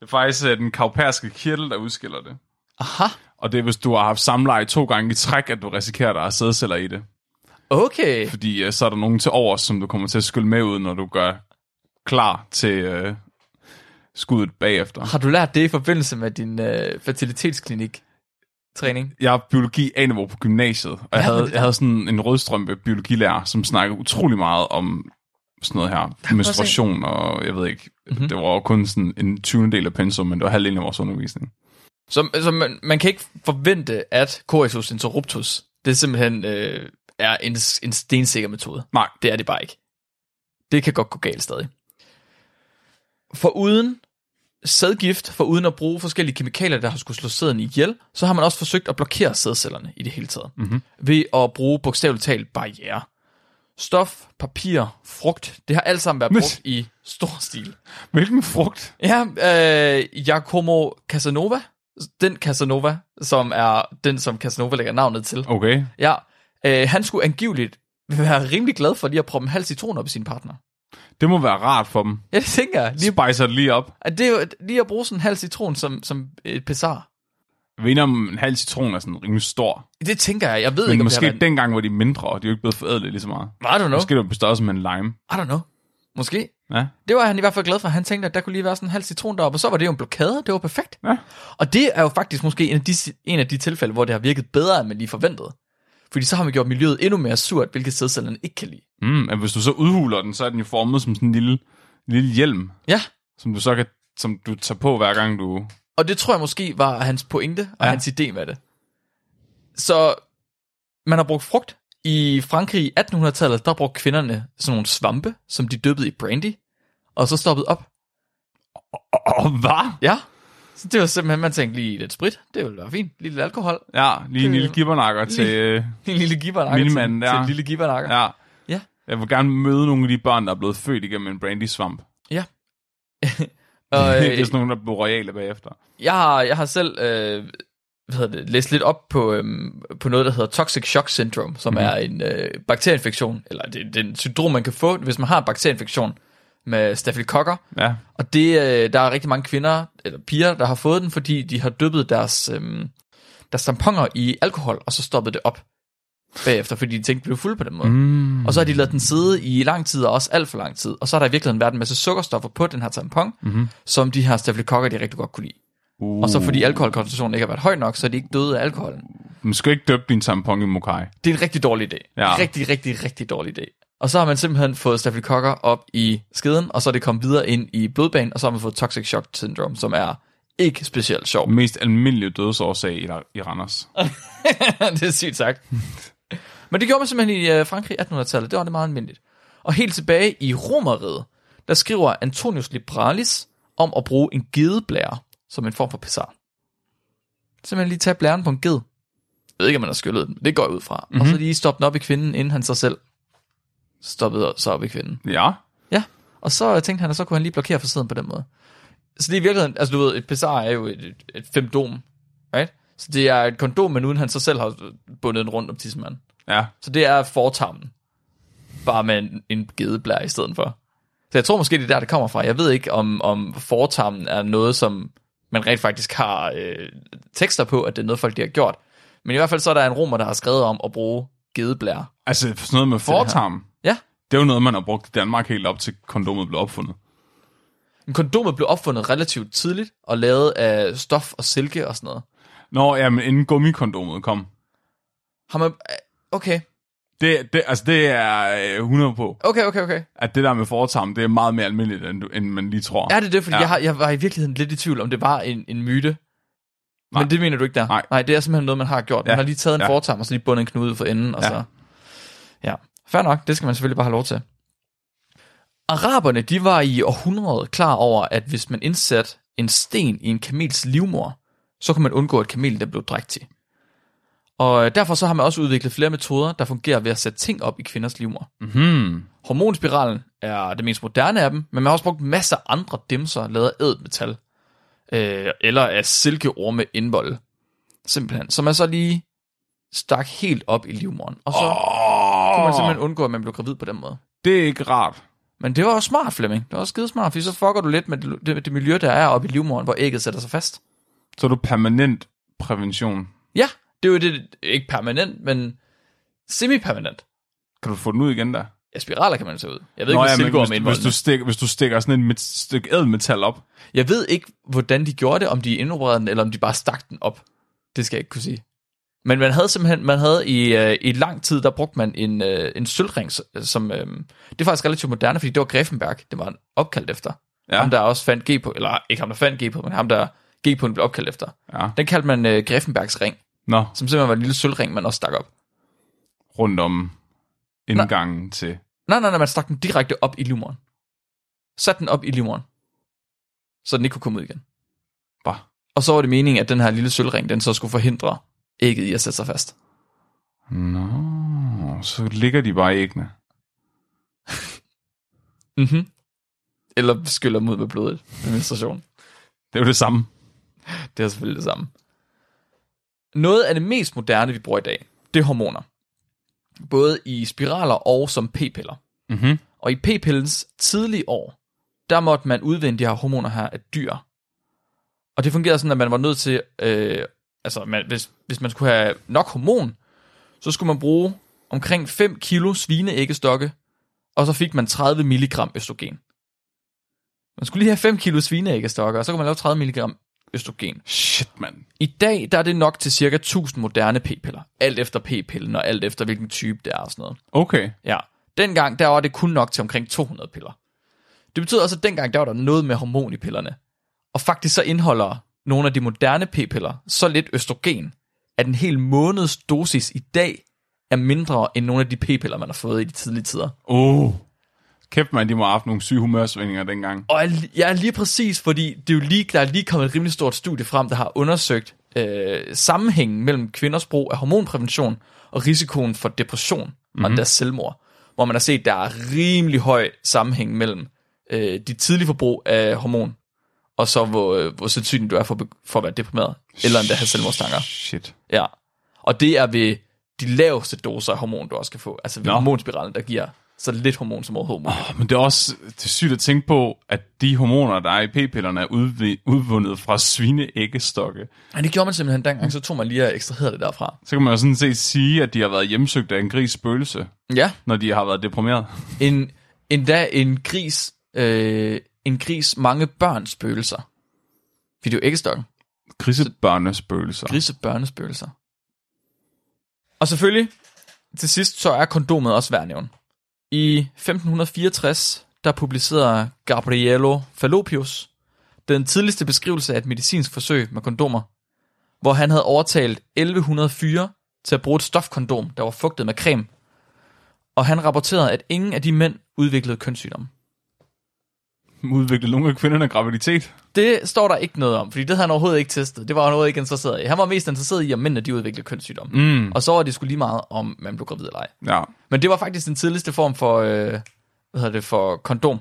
S2: Det er faktisk øh, den kauperske kirtel, der udskiller det.
S1: Aha,
S2: Og det er, hvis du har haft samleje to gange i træk, at du risikerer, at der er sædceller i det.
S1: okay.
S2: Fordi øh, så er der nogen til over, som du kommer til at skylle med ud, når du gør klar til øh, skuddet bagefter.
S1: Har du lært det i forbindelse med din øh, fertilitetsklinik-træning?
S2: jeg er biologi A-niveau på gymnasiet, og jeg havde, jeg havde sådan en rødstrømpe biologilærer, som snakkede utrolig meget om sådan noget her, menstruation, og jeg ved ikke, mm-hmm. det var jo kun sådan en 20. del af pensum, men det var halvdelen af vores undervisning.
S1: Så, så man, man kan ikke forvente, at coetus interruptus, det simpelthen øh, er en, en stensikker metode.
S2: Nej,
S1: Det er det bare ikke. Det kan godt gå galt stadig. For uden sædgift, for uden at bruge forskellige kemikalier, der har skulle slå sæden ihjel, så har man også forsøgt at blokere sædcellerne i det hele taget. Mm-hmm.
S2: Mhm.
S1: Ved at bruge bogstaveligt talt barriere. Stof, papir, frugt, det har alt sammen været
S2: Men-
S1: brugt i stor stil.
S2: hvilken frugt?
S1: Ja, øh, Giacomo Casanova. Den Casanova, som er den, som Casanova lægger navnet til.
S2: Okay,
S1: Ja, øh, han skulle angiveligt være rimelig glad for lige at proppe en halv citron op i sin partner.
S2: det må være rart for dem.
S1: Ja, det tænker jeg.
S2: De
S1: Lige,
S2: spicer det lige op.
S1: at det er jo lige at bruge sådan en halv citron som, som et pessar.
S2: Jeg ved ikke, om en halv citron er sådan rimelig stor,
S1: Det tænker jeg. Jeg ved
S2: men
S1: ikke, om
S2: måske
S1: det har været...
S2: dengang var de mindre, og de er jo ikke blevet forædlet lige så meget.
S1: I don't know.
S2: Måske det var på størrelse med en lime.
S1: I don't know. Måske.
S2: Ja.
S1: Det var han i hvert fald glad for. Han tænkte, at der kunne lige være sådan en halv citron deroppe, og så var det jo en blokade. Det var perfekt.
S2: Ja.
S1: Og det er jo faktisk måske en af, de, en af de tilfælde, hvor det har virket bedre, end man lige forventede. Fordi så har man gjort miljøet endnu mere surt, hvilket sædcellerne ikke kan lide.
S2: Mm, men hvis du så udhuler den, så er den jo formet som sådan en lille, lille hjelm.
S1: Ja,
S2: som du så kan, som du tager på hver gang du...
S1: og det tror jeg måske var hans pointe og
S2: Ja.
S1: ja. hans idé med det. Så man har brugt frugt. I Frankrig i 1800-tallet, der brugte kvinderne sådan nogle svampe, som de dyppede i brandy, og så stoppede op.
S2: Åh, hvad?
S1: Ja, så det var simpelthen, man tænkte lige lidt sprit, det ville være fint, lige lidt alkohol.
S2: Ja, lige en lille gibbernakker til... øh,
S1: En lille gibbernakker til,
S2: Mildmanden,
S1: til
S2: ja.
S1: en lille gibbernakker.
S2: Ja.
S1: Ja.
S2: Jeg vil gerne møde nogle af de børn, der er blevet født igennem en brandy-svamp.
S1: Og,
S2: det er
S1: øh,
S2: sådan nogle, der bliver royale bagefter.
S1: jeg, har, jeg har selv øh, hvad hedder det, læst lidt op på, øhm, på noget, der hedder Toxic Shock Syndrome, som
S2: Mhm.
S1: mm-hmm. er en øh, bakterieinfektion, eller det, det er en syndrom, man kan få, hvis man har en bakterieinfektion med stafylokokker.
S2: Ja.
S1: Og det, øh, der er rigtig mange kvinder, eller piger, der har fået den, fordi de har dyppet deres, øhm, deres tamponer i alkohol, og så stoppet det op bagefter, fordi de tænkte, at de blev fulde på den måde.
S2: Mm.
S1: Og så har de lavet den sidde i lang tid, og også alt for lang tid. Og så har der i virkeligheden været en masse sukkerstoffer på den her tampon, mm-hmm. som de her stafylokokker, de rigtig godt kunne lide.
S2: Uh.
S1: Og så fordi alkoholkoncentrationen ikke har været høj nok, så er de ikke døde af alkoholen.
S2: Man skal ikke døbe din tampon i mokai.
S1: Det er en rigtig dårlig idé.
S2: Ja.
S1: Ja. Rigtig, rigtig, rigtig dårlig idé. Og så har man simpelthen fået stafylokokker op i skeden, og så er det kommet videre ind i blodbanen, og så har man fået toxic shock syndrome, som er ikke specielt sjov.
S2: Mest almindelige dødsårsag i, i Randers.
S1: det er sygt sagt. Men det gjorde man simpelthen i øh, Frankrig i 1800-tallet. Det var det meget almindeligt. Og helt tilbage i Romeriet, der skriver Antonius Libralis om at bruge en gedeblære som en form for pessar. Simpelthen lige tage blæren på en ged. Jeg ved ikke, om man har skyllet den, men det går jeg ud fra. Mm-hmm. Og så lige stoppe den op i kvinden, inden han sig selv stoppede så op i kvinden.
S2: Ja.
S1: Ja, og så tænkte han, at så kunne han lige blokere for siden på den måde. Så det er i virkeligheden, altså du ved, et pessar er jo et, et, et femdom, right? Så det er et kondom, men uden han så selv har bundet en rundt om tissemanden.
S2: Ja.
S1: Så det er fortarmen. Bare med en, en gedeblære i stedet for. Så jeg tror måske, det er der, det kommer fra. Jeg ved ikke, om, om fortarmen er noget, som man rent faktisk har øh, tekster på, at det er noget, folk de har gjort. Men i hvert fald så er der en romer, der har skrevet om at bruge gedeblære.
S2: Altså, sådan noget med fortarm.
S1: Ja,
S2: Det er jo noget, man har brugt i Danmark helt op til kondomet blev opfundet.
S1: Men kondomet blev opfundet relativt tidligt og lavet af stof og silke og sådan noget.
S2: Nå, ja, men inden gummikondomet kom.
S1: Har man... Okay,
S2: Det, det, altså, det er øh, 100 på.
S1: okay, okay, okay.
S2: at det der med fortarm, det er meget mere almindeligt, end, du- end man lige tror.
S1: Er det det? Fordi
S2: Ja.
S1: ja. jeg, har, jeg var i virkeligheden lidt i tvivl, om det var en, en myte. Nej.
S2: Nej.
S1: Men det mener du ikke der?
S2: Nej.
S1: Nej, det er simpelthen noget, man har gjort. Ja.
S2: Ja.
S1: Man har lige taget en
S2: Ja.
S1: ja. fortarm, og så lige bundet en knude ud for enden, og
S2: Ja.
S1: ja. så... Ja, fair nok. Det skal man selvfølgelig bare have lov til. Araberne, de var i århundredet klar over, at hvis man indsat en sten i en kamels livmor, så kunne man undgå, at kamelen der blev drægtig. Og øh, derfor så har man også udviklet flere metoder, der fungerer ved at sætte ting op i kvinders livmor.
S2: Hmm.
S1: Hormonspiralen er det mest moderne af dem, men man har også brugt masser af andre dimser lavet af ædmetal. Øh, eller af silkeorme indvold. simpelthen, som er så lige stak helt op i livmoderen. Og så oh. kunne man
S2: Åh,
S1: simpelthen undgå, at man blev gravid på den måde.
S2: det er ikke rart.
S1: Men det var jo smart, Flemming. Det var også skidesmart, fordi så fucker du lidt med det, det, det miljø, der er oppe i livmoderen, hvor ægget sætter sig fast.
S2: Så er du permanent prævention.
S1: Ja, det er jo det, ikke permanent, men semi-permanent.
S2: Kan du få den ud igen der?
S1: Ja, spiraler kan man se ud. Jeg ved Nå, ikke, hvad
S2: men
S1: Silkeborg
S2: hvis,
S1: mente
S2: hvis,
S1: med
S2: du stikker, hvis du stikker sådan en mit, stykke ædelmetal op.
S1: den. Jeg ved ikke, hvordan de gjorde det, om de indopererede den, eller om de bare stak den op. Det skal jeg ikke kunne sige. Men man havde simpelthen, man havde i, øh, i lang tid, der brugte man en, øh, en sølvring, s- som, øh, det er faktisk relativt moderne, fordi det var Greffenberg, det var opkaldt efter. Ja.
S2: Ja.
S1: Ham, der også fandt G på, eller ikke ham, der fandt G på, men ham, der G på blev opkaldt efter.
S2: Ja.
S1: Den kaldte man øh, Greffenbergs ring,
S2: Nå,
S1: som simpelthen var en lille sølvring, man også stak op.
S2: rundt om indgangen Nå. til...
S1: Nej, nej, nej, man stak den direkte op i livmoderen. Sat den op i livmoderen. Så den ikke kunne komme ud igen.
S2: Bah.
S1: Og så var det meningen, at den her lille sølvring, den så skulle forhindre ægget i at sætte sig fast.
S2: Nå, så ligger de bare i æggene.
S1: Mhm. Eller skyller dem ud med blodet ved menstruation.
S2: Det er jo det samme.
S1: Det er selvfølgelig det samme. Noget af det mest moderne, vi bruger i dag, det er hormoner. Både i spiraler og som p-piller.
S2: Mm-hmm.
S1: Og i p-pillens tidlige år, der måtte man udvinde de her hormoner her af dyr. Og det fungerede sådan, at man var nødt til, øh, altså man, hvis, hvis man skulle have nok hormon, så skulle man bruge omkring 5 kilo svineæggestokke, og så fik man 30 milligram østrogen. Man skulle lige have 5 kilo svineæggestokke, og så kunne man lave 30 milligram østrogen.
S2: Shit, mand.
S1: I dag der er det nok til cirka 1000 moderne p-piller. Alt efter p-pillen og alt efter hvilken type det er og sådan noget.
S2: Okay.
S1: Ja. Dengang, der var det kun nok til omkring 200 piller. Det betyder også, at dengang, der var der noget med hormon i pillerne. Og faktisk så indeholder nogle af de moderne p-piller så lidt østrogen, at en hel måneds dosis i dag er mindre end nogle af de p-piller, man har fået i de tidlige tider.
S2: Oh. Kæft, mand, de må have haft nogle syge humørsvingninger dengang.
S1: Og jeg ja, lige præcis, fordi det er jo lige, der er lige kommet et rimelig stort studie frem, der har undersøgt øh, sammenhængen mellem kvinders brug af hormonprævention og risikoen for depression mm-hmm. og deres selvmord. Hvor man har set, der er rimelig høj sammenhæng mellem øh, de tidlige forbrug af hormon, og så hvor, øh, hvor sandsynlig du er for, at be- for at være deprimeret, eller endda have selvmordstanker.
S2: Shit.
S1: Ja. Og det er ved de laveste doser af hormon, du også kan få. Altså ved
S2: Nå.
S1: hormonspiralen, der giver så lidt hormon som overhovedet muligt.
S2: Oh, men det er også det er sygt at tænke på, at de hormoner, der er i p-pillerne, er udvi- udvundet fra svineæggestokke.
S1: Men det gjorde man simpelthen dengang, så tog man lige og ekstraherede det derfra.
S2: Så kan man jo sådan set sige, at de har været hjemsøgt af en gris spøgelse,
S1: Ja,
S2: når de har været deprimeret.
S1: en, endda en gris, øh, en gris mange børns spøgelser. Fordi det er jo æggestokken.
S2: Grisebørnespøgelser.
S1: Grise børnespøgelser. Og selvfølgelig, til sidst, så er kondomet også værd at nævne. I 1564, der publicerede Gabriello Fallopius den tidligste beskrivelse af et medicinsk forsøg med kondomer, hvor han havde overtalt 1100 fyre til at bruge et stofkondom, der var fugtet med creme, og han rapporterede, at ingen af de mænd udviklede kønssygdomme.
S2: Udviklet nogle af kvinderne graviditet.
S1: Det står der ikke noget om, fordi det havde han overhovedet ikke testet. Det var han overhovedet ikke interesseret i. Han var mest interesseret i, om mændene de udviklede kønssygdomme.
S2: Mm.
S1: Og så var det skulle lige meget, om man blev gravid eller ej.
S2: Ja.
S1: Men det var faktisk den tidligste form for, øh, hvad hedder det, for kondom.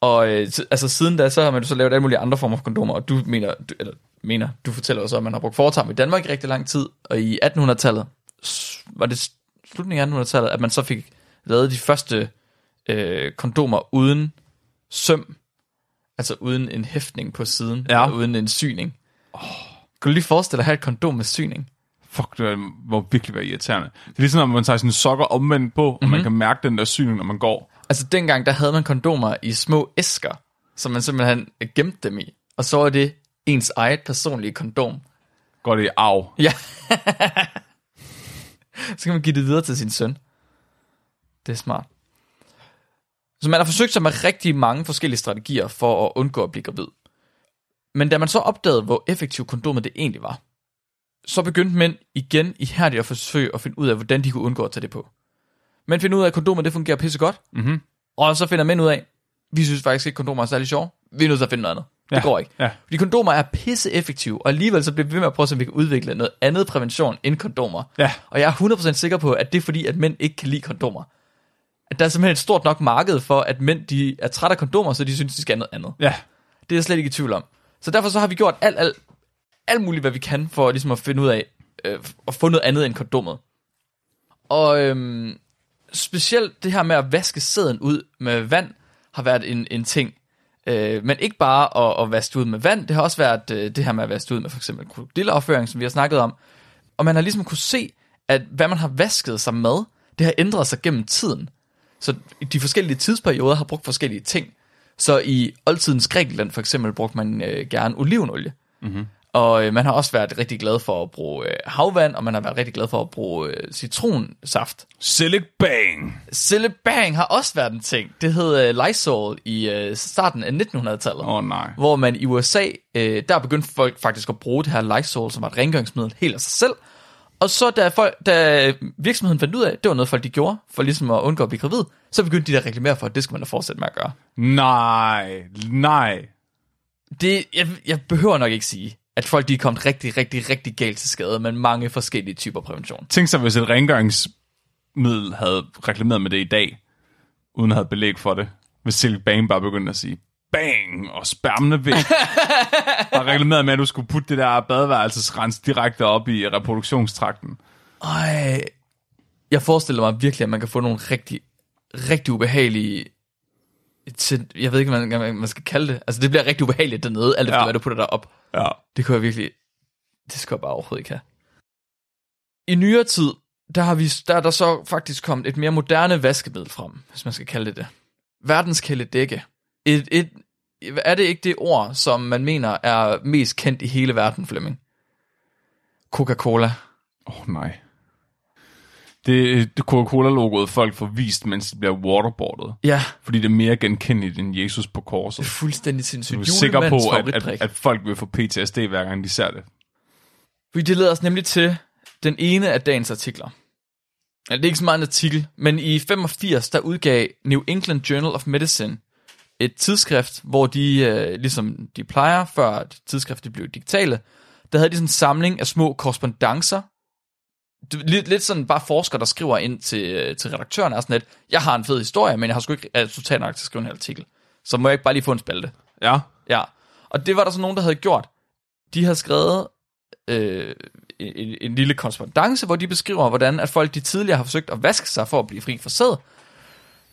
S1: Og øh, si- altså siden da, så har man jo så lavet alle mulige andre former for kondomer, og du mener, du, eller, mener, du fortæller også, at man har brugt foretarm i Danmark i rigtig lang tid, og i 1800-tallet, s- var det s- slutningen af 1800-tallet, at man så fik lavet de første øh, kondomer uden søm, altså uden en hæftning på siden,
S2: Ja.
S1: og uden en syning. Oh. Kan du lige forestille dig at have et kondom med syning?
S2: Fuck, det må virkelig være irriterende. Det er ligesom, når man tager sine sokker omvendt på, og mm-hmm. man
S1: Mhm.
S2: kan mærke den der syning, når man går.
S1: Altså dengang, der havde man kondomer i små æsker, som man simpelthen gemte dem i. Og så var det ens eget personlige kondom.
S2: Går det i arv.
S1: Ja. så kan man give det videre til sin søn. Det er smart. Så man har forsøgt sig med rigtig mange forskellige strategier for at undgå at blive gravid. Men da man så opdagede, hvor effektivt kondomet det egentlig var, så begyndte mænd igen ihærdigt at forsøge at finde ud af, hvordan de kunne undgå at tage det på. Man finder ud af, at kondomet det fungerer pissegodt,
S2: Mhm.
S1: og så finder mænd ud af, vi synes faktisk ikke, kondomer er særlig sjove, vi er nødt til at finde noget andet. Det
S2: Ja,
S1: går ikke.
S2: ja.
S1: Fordi kondomer er pisse effektive, og alligevel så bliver vi ved med at prøve, så vi kan udvikle noget andet prævention end kondomer.
S2: Ja.
S1: Og jeg er 100% sikker på, at det er fordi, at mænd ikke kan lide kondomer. At der er simpelthen et stort nok marked for, at mænd de er trætte af kondomer, så de synes, de skal have noget andet.
S2: Ja.
S1: Det er jeg slet ikke i tvivl om. Så derfor så har vi gjort alt, alt, alt muligt, hvad vi kan, for ligesom at finde ud af, øh, at få noget andet end kondomet. Og øhm, specielt det her med at vaske sæden ud med vand, har været en, en ting. Øh, men ikke bare at, at vaske det ud med vand, det har også været øh, det her med at vaske det ud med for eksempel krokodilleafføring, som vi har snakket om. Og man har ligesom kunne se, at hvad man har vasket sig med, det har ændret sig gennem tiden. Så de forskellige tidsperioder har brugt forskellige ting. Så i oldtidens Grækenland for eksempel brugte man øh, gerne olivenolie. Mm-hmm. Og øh, man har også været rigtig glad for at bruge øh, havvand, og man har været rigtig glad for at bruge øh, citronsaft.
S2: Silic Bang!
S1: Cellebang har også været en ting. Det hed øh, Lysol i øh, starten af 1900-tallet,
S2: Åh oh, nej.
S1: hvor man i USA, øh, der begyndte folk faktisk at bruge det her Lysol, som var et rengøringsmiddel helt af sig selv. Og så da, folk, da virksomheden fandt ud af, at det var noget folk de gjorde, for ligesom at undgå at blive gravid, så begyndte de at reklamere for, at det skal man da fortsætte med at gøre.
S2: Nej, nej.
S1: Det, jeg, jeg behøver nok ikke sige, at folk de er kommet rigtig, rigtig, rigtig galt til skade, men mange forskellige typer prævention.
S2: Tænk så, hvis et rengøringsmiddel havde reklameret med det i dag, uden at have belæg for det. Hvis Silic Bang bare begyndte at sige, bang, og spermene væk. og reklameret med, at du skulle putte det der badeværelsesrens direkte op i reproduktionstrakten.
S1: Ej, jeg forestiller mig virkelig, at man kan få nogle rigtig, rigtig ubehagelige... Til, jeg ved ikke, hvad man, hvad man skal kalde det. Altså, det bliver rigtig ubehageligt dernede, alt efter,
S2: Ja.
S1: ja. hvad du putter der op.
S2: Ja.
S1: Det kunne jeg virkelig... Det skulle jeg bare overhovedet ikke have. I nyere tid, der, har vi, der er der så faktisk kommet et mere moderne vaskemiddel frem, hvis man skal kalde det det. Verdenskæledække. Et, et, er det ikke det ord, som man mener er mest kendt i hele verden, Flemming? Coca-Cola.
S2: Åh oh, nej. Det, det Coca-Cola-logoet folk får vist, mens de bliver waterboardet.
S1: Ja,
S2: Fordi det er mere genkendeligt end Jesus på korset.
S1: fuldstændig sindssygt.
S2: Du er sikker på,
S1: Julemandens
S2: at, at,
S1: favoritdrik.
S2: at folk vil få PTSD, hver gang de ser det.
S1: Fordi det leder os nemlig til den ene af dagens artikler. Ja, det er ikke så meget en artikel, men i 85 der udgav New England Journal of Medicine et tidsskrift, hvor de, øh, ligesom de plejer, før det tidsskriftet blev digitale, der havde de sådan en samling af små korrespondencer. Det- Lidt, lidt sådan bare forskere, der skriver ind til, øh, til redaktøren og er sådan lidt, jeg har en fed historie, men jeg har sgu ikke øh, totalt nok til at skrive en hel artikel. Så må jeg ikke bare lige få en spalte.
S2: Ja.
S1: Ja, og det var der så nogen, der havde gjort. De havde skrevet øh, en, en lille korrespondence, hvor de beskriver, hvordan at folk de tidligere har forsøgt at vaske sig for at blive fri for sæd.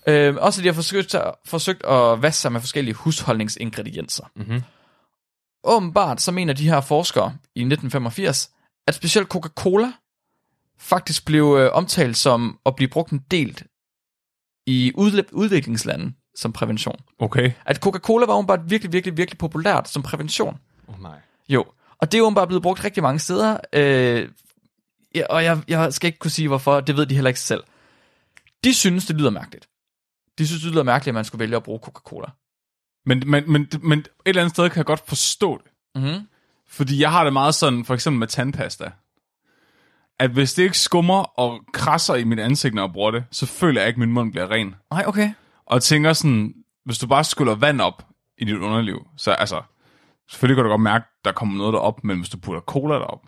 S1: Øh, også at de har forsøgt, at- forsøgt at vaske sig med forskellige husholdningsingredienser. Mm-hmm. Åbenbart så mener de her forskere i 1985, at specielt Coca-Cola faktisk blev øh, omtalt som at blive brugt en del i udle- udviklingslande som prævention.
S2: Okay.
S1: At Coca-Cola var åbenbart virkelig, virkelig, virkelig populært som prævention.
S2: Åh oh, nej.
S1: Jo, og det er åbenbart blevet brugt rigtig mange steder, øh, ja, og jeg, jeg skal ikke kunne sige hvorfor, det ved de heller ikke selv. De synes, det lyder mærkeligt. De synes, det lyder mærkeligt, at man skulle vælge at bruge Coca-Cola.
S2: Men, men, men, men et eller andet sted kan jeg godt forstå det.
S1: Mhm.
S2: Fordi jeg har det meget sådan, for eksempel med tandpasta. At hvis det ikke skummer og krasser i mit ansigt, når jeg bruger det, så føler jeg ikke, at min mund bliver ren.
S1: Nej, okay.
S2: Og tænker sådan, hvis du bare skyller vand op i dit underliv, så altså, selvfølgelig kan du godt mærke, at der kommer noget derop, men hvis du putter cola derop,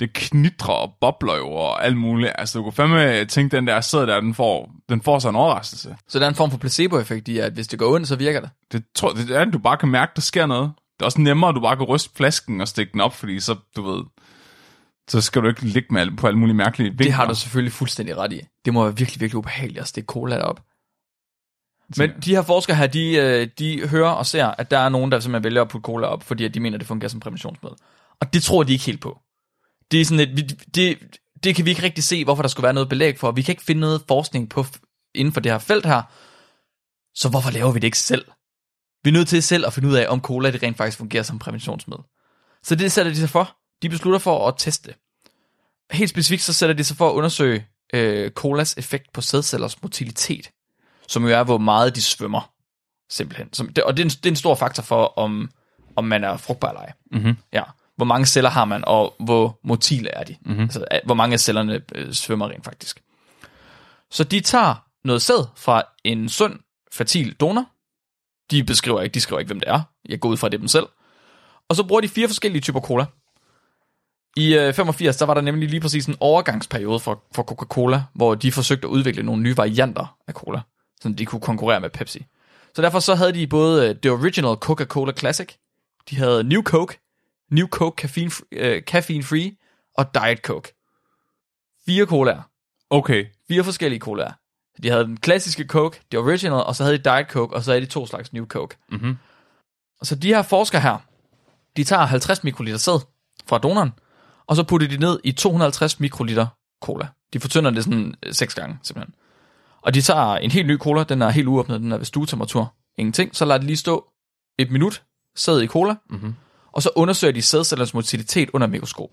S2: det knitrer og bobler jo og alt muligt. Altså, du kan fandme tænke, den der sidder der, den får, den får sig en overraskelse.
S1: Så der er en form for placeboeffekt i, at hvis det går ondt, så virker det.
S2: Det tror det er, at du bare kan mærke, der sker noget. Det er også nemmere, at du bare kan ryste flasken og stikke den op, fordi så, du ved, så skal du ikke ligge med alt, på alle mulige mærkelige vinkler.
S1: Det har du selvfølgelig fuldstændig ret i. Det må være virkelig, virkelig ubehageligt at stikke cola derop. Men de her forskere her, de, øh, de hører og ser, at der er nogen, der simpelthen vælger at putte cola op, fordi at de mener, at det fungerer som præventionsmiddel. Og det tror de ikke helt på. Det er sådan et, vi- det, det kan vi ikke rigtig se, hvorfor der skulle være noget belæg for. Vi kan ikke finde noget forskning på f- inden for det her felt her. Så hvorfor laver vi det ikke selv? Vi er nødt til selv at finde ud af, om cola det rent faktisk fungerer som præventionsmiddel. Så det sætter de sig for. De beslutter for at teste. Helt specifikt så sætter de sig for at undersøge øh, colas effekt på sædcellers motilitet som jo er, hvor meget de svømmer, simpelthen. Som, det, og det er, en, det er en stor faktor for, om, om man er frugtbar eller ej.
S2: Mhm.
S1: Ja. Hvor mange celler har man, og hvor motile er de? Mm-hmm. Altså, at- hvor mange af cellerne øh, svømmer rent faktisk. Så de tager noget sæd fra en sund, fertil donor. De beskriver ikke, de skriver ikke, hvem det er. Jeg går ud fra det er dem selv. Og så bruger de fire forskellige typer cola. I øh, 85, der var der nemlig lige præcis en overgangsperiode for, for Coca-Cola, hvor de forsøgte at udvikle nogle nye varianter af cola, så de kunne konkurrere med Pepsi. Så derfor så havde de både øh, The Original Coca-Cola Classic, de havde New Coke, New Coke caffeine, øh, caffeine free og Diet Coke. Fire colaer.
S2: Okay.
S1: Fire forskellige colaer. De havde den klassiske Coke, det original, og så havde de Diet Coke, og så havde de to slags New Coke.
S2: Mhm.
S1: Og så de her forskere her, de tager 50 mikroliter sæd fra donoren, og så putter de ned i 250 mikroliter cola. De fortynder det sådan øh, seks gange, simpelthen. Og de tager en helt ny cola, den er helt uåbnet, den er ved stuetemperatur. Ingenting. Så lader de lige stå et minut, sæd i cola,
S2: Mhm.
S1: og så undersøger de sædcellernes motilitet under et mikroskop.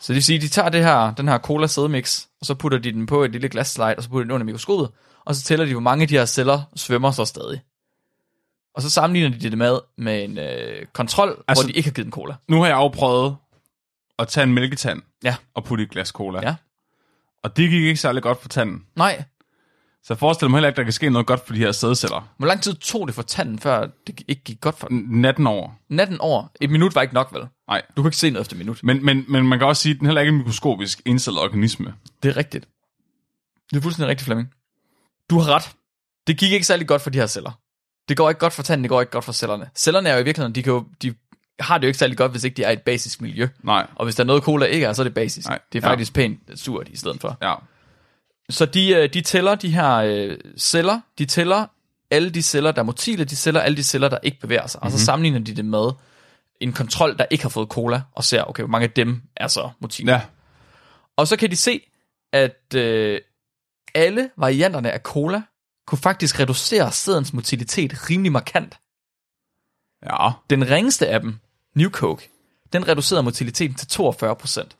S1: Så det vil sige, at de tager det her, den her cola sædmix, og så putter de den på et lille glasslight, og så putter de den under mikroskopet, og så tæller de, hvor mange af de her celler svømmer så stadig. Og så sammenligner de det med, med en øh, kontrol, altså,
S2: Altså-
S1: hvor de ikke har givet en cola.
S2: Nu har jeg jo prøvet at tage en mælketand
S1: Ja.
S2: og putte i et glas cola.
S1: Ja.
S2: Og det gik ikke særlig godt for tanden.
S1: Nej,
S2: Så jeg forestiller mig heller ikke, der kan ske noget godt for de her sædceller.
S1: hvor lang tid tog det for tanden, før det ikke gik godt for den?
S2: N- Natten over.
S1: Natten over. Et minut var ikke nok, vel?
S2: Nej.
S1: Du kunne ikke se noget efter et minut.
S2: Men, men, men man kan også sige, at den heller ikke er en mikroskopisk indstillet organisme.
S1: Det er rigtigt. Det er fuldstændig rigtigt, Flemming. Du har ret. Det gik ikke særlig godt for de her celler. Det går ikke godt for tanden, det går ikke godt for cellerne. Cellerne er jo i virkeligheden, de, kan jo, de har det jo ikke særlig godt, hvis ikke de er i et basisk miljø.
S2: Nej.
S1: Og hvis der er noget cola ikke er, så er det basisk.
S2: Nej,
S1: det er
S2: ja.
S1: faktisk pænt surt i stedet for.
S2: Ja.
S1: Så de, øh, de tæller de her øh, celler, de tæller alle de celler, der er motile, de tæller alle de celler, der ikke bevæger sig. Og
S2: Mhm.
S1: så sammenligner de det med en kontrol, der ikke har fået cola, og ser, okay, hvor mange af dem er så motile.
S2: Ja.
S1: Og så kan de se, at øh, alle varianterne af cola kunne faktisk reducere sædens motilitet rimelig markant.
S2: Ja.
S1: Den ringeste af dem, New Coke, den reducerede motiliteten til 42 procent.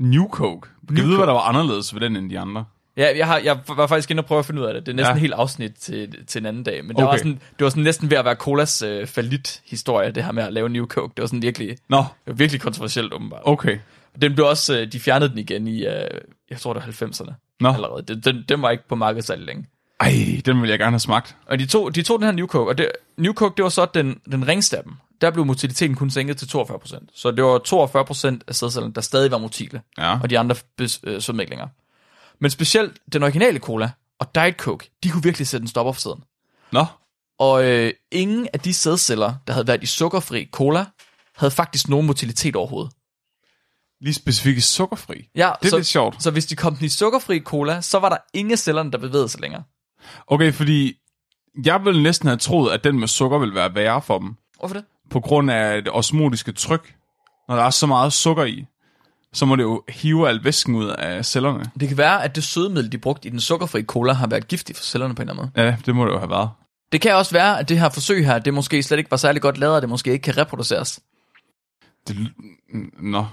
S2: New Coke.
S1: New
S2: New jeg ved,
S1: Coke.
S2: hvad der var anderledes ved den end de andre.
S1: Ja, jeg, har, jeg var faktisk inde og prøve at finde ud af det. Det er næsten
S2: Ja.
S1: ja. helt afsnit til, til en anden dag. Men okay. der
S2: Okay.
S1: var sådan, det var sådan næsten ved at være colas øh, falit historie, det her med at lave New Coke. Det var sådan virkelig, det
S2: Nå,
S1: var virkelig kontroversielt åbenbart.
S2: okay.
S1: Den blev også, øh, de fjernede den igen i, øh, jeg tror det var 90'erne
S2: Nå.
S1: allerede. Den, den, den var ikke på markedet særlig længe.
S2: Ej, den ville jeg gerne have smagt.
S1: Og de tog, de tog den her New Coke, og det, New Coke, det var så den, den ringste af dem. Der blev motiliteten kun sænket til 42%. Så det var 42% af sædcellerne, der stadig var motile,
S2: Ja.
S1: og de andre bes- øh, sødmæklinger. Men specielt den originale cola og Diet Coke, de kunne virkelig sætte en stopper for sæden.
S2: Nå,
S1: Og øh, ingen af de sædceller, der havde været i sukkerfri cola, havde faktisk nogen motilitet overhovedet.
S2: lige specifikt sukkerfri.
S1: Ja,
S2: Det er
S1: så,
S2: lidt sjovt.
S1: Så hvis de kom den i sukkerfri cola, så var der ingen af cellerne, der bevægede sig længere.
S2: Okay, fordi jeg ville næsten have troet, at den med sukker ville være værre for dem.
S1: Hvorfor det?
S2: På grund af det osmotiske tryk. Når der er så meget sukker i, så må det jo hive al væsken ud af cellerne.
S1: Det kan være, at det sødemiddel, de brugte i den sukkerfri cola, har været giftigt for cellerne på en eller anden måde.
S2: Ja, det må det jo have været.
S1: Det kan også være, at det her forsøg her, det måske slet ikke var særlig godt lavet, og det måske ikke kan reproduceres.
S2: Det, l- nå.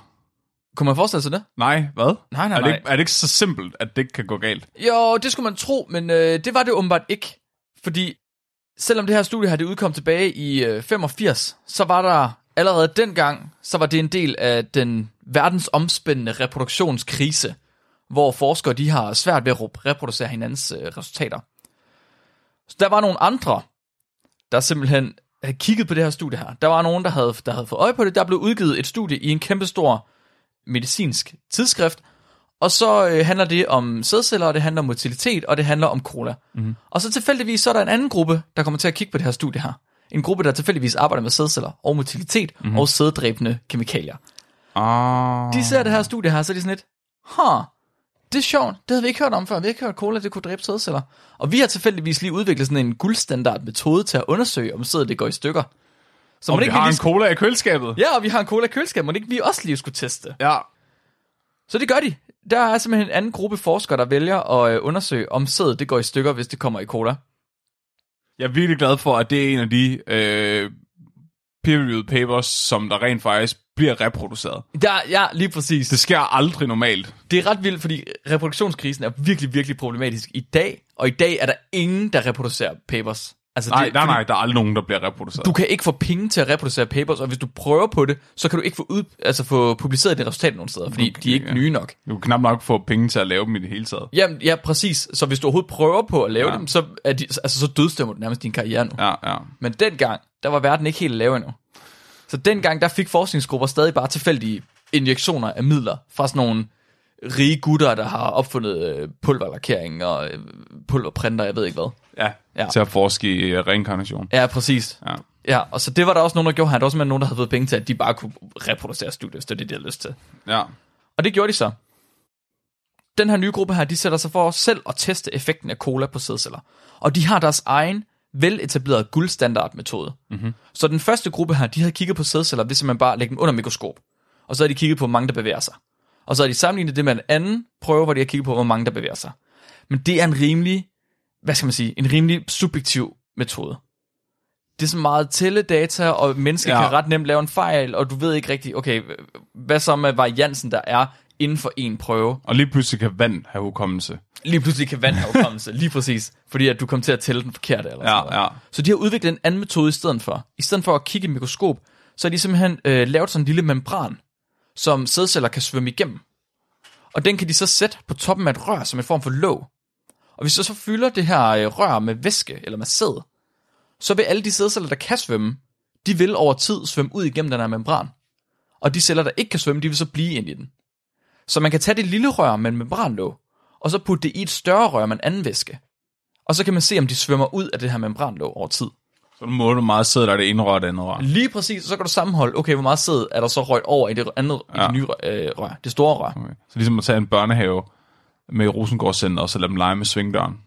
S1: Kunne man forestille sig det?
S2: Nej, hvad?
S1: Nej, nej,
S2: er, det
S1: nej.
S2: ikke, er det ikke så simpelt, at det ikke kan gå galt?
S1: Jo, det skulle man tro, men øh, det var det åbenbart ikke. Fordi selvom det her studie her, det udkom tilbage i øh, 85, så var der allerede dengang, så var det en del af den verdensomspændende reproduktionskrise, hvor forskere de har svært ved at rep- reproducere hinandens øh, resultater. Så der var nogle andre, der simpelthen havde kigget på det her studie her. Der var nogen, der havde, der havde fået øje på det. Der blev udgivet et studie i en kæmpestor medicinsk tidsskrift, og så øh, handler det om sædceller, og det handler om motilitet, og det handler om cola.
S2: Mhm.
S1: Mm-hmm. Og så tilfældigvis, så er der en anden gruppe, der kommer til at kigge på det her studie her. En gruppe, der tilfældigvis arbejder med sædceller og motilitet mm-hmm. og sæddræbende kemikalier.
S2: Mhm. Ah.
S1: De ser det her studie her, så er de sådan lidt, huh, det er sjovt, det havde vi ikke hørt om før, vi har ikke hørt cola, det kunne dræbe sædceller. Og vi har tilfældigvis lige udviklet sådan en guldstandard metode til at undersøge, om sædet det går i stykker. Så
S2: Om
S1: man
S2: vi
S1: ikke vi
S2: har en
S1: lige...
S2: cola i køleskabet?
S1: Ja, og vi har en cola i køleskab, må det ikke vi også lige skulle teste?
S2: ja.
S1: Så det gør de. Der er simpelthen en anden gruppe forskere, der vælger at øh, undersøge, om sædet det går i stykker, hvis det kommer i cola.
S2: Jeg er virkelig glad for, at det er en af de øh, peer-reviewed papers, som der rent faktisk bliver reproduceret.
S1: Der, ja, lige præcis.
S2: Det
S1: Det,
S2: sker aldrig normalt.
S1: det er ret vildt, fordi reproduktionskrisen er virkelig, virkelig problematisk i dag. Og i dag er der ingen, der reproducerer papers. Altså,
S2: Nej, nej,
S1: fordi
S2: nej, der er aldrig nogen, der bliver reproduceret.
S1: Du kan ikke få penge til at reproducere papers, og hvis du prøver på det, så kan du ikke få, ud, altså få publiceret det resultat nogen steder, fordi okay, de er ikke
S2: ja.
S1: ja. nye nok.
S2: Du kan knap nok få penge til at lave dem i det hele taget.
S1: Jamen, ja, præcis. Så hvis du overhovedet prøver på at lave
S2: Ja.
S1: ja. dem, så, er de, altså, så dødstemmer du nærmest din karriere nu.
S2: Ja, ja.
S1: Men dengang, der var verden ikke helt lav endnu. Så dengang, der fik forskningsgrupper stadig bare tilfældige injektioner af midler fra sådan nogle rige gutter, der har opfundet øh, pulverlakering og øh, pulverprinter, jeg ved ikke hvad.
S2: Ja,
S1: Ja.
S2: til at forske i øh, reinkarnation.
S1: Ja, præcis.
S2: Ja.
S1: Ja, og så det var der også nogen, der gjorde her. Der var simpelthen nogen, der havde fået penge til, at de bare kunne reproducere studiet, hvis det er det, de havde lyst til.
S2: Ja.
S1: Og det gjorde de så. Den her nye gruppe her, de sætter sig for selv at teste effekten af cola på sædceller. Og de har deres egen veletablerede guldstandardmetode. Mm-hmm. Så den første gruppe her, de havde kigget på sædceller ved simpelthen bare at lægge dem under mikroskop. Og så havde de kigget på, hvor mange der bevæger sig. Og så havde de sammenlignet det med en anden prøve, hvor de har kigget på, hvor mange der bevæger sig. Men det er en rimelig, hvad skal man sige, en rimelig subjektiv metode. Det er så meget tælledata, og mennesker ja.
S2: Ja.
S1: kan ret nemt lave en fejl, og du ved ikke rigtig, okay, hvad så med variansen, der er inden for en prøve.
S2: Og lige pludselig kan vand have hukommelse.
S1: Lige pludselig kan vand afkomme sig, lige præcis, fordi at du kom til at tælle den forkerte. Eller sådan noget.
S2: Ja, ja.
S1: Så de har udviklet en anden metode i stedet for. I stedet for at kigge i et mikroskop, så har de simpelthen øh, lavet sådan en lille membran, som sædceller kan svømme igennem. Og den kan de så sætte på toppen af et rør, som en form for låg. Og hvis du så fylder det her øh, rør med væske, eller med sæd, så vil alle de sædceller, der kan svømme, de vil over tid svømme ud igennem den her membran. Og de celler, der ikke kan svømme, de vil så blive ind i den. Så man kan tage det lille rør med en membranlåg, og så putte det i et større rør med en anden væske. Og så kan man se, om de svømmer ud af det her membranlåg over tid.
S2: Så nu må du meget sidde der, er det ene rør og det andet rør.
S1: Lige præcis, så kan du sammenholde, okay, hvor meget sæd er der så røgt over i det andet, ja. i det nye øh, rør, det store rør.
S2: Okay. Så ligesom at tage en børnehave med i Rosengård Center, og så lade dem lege med svingdøren.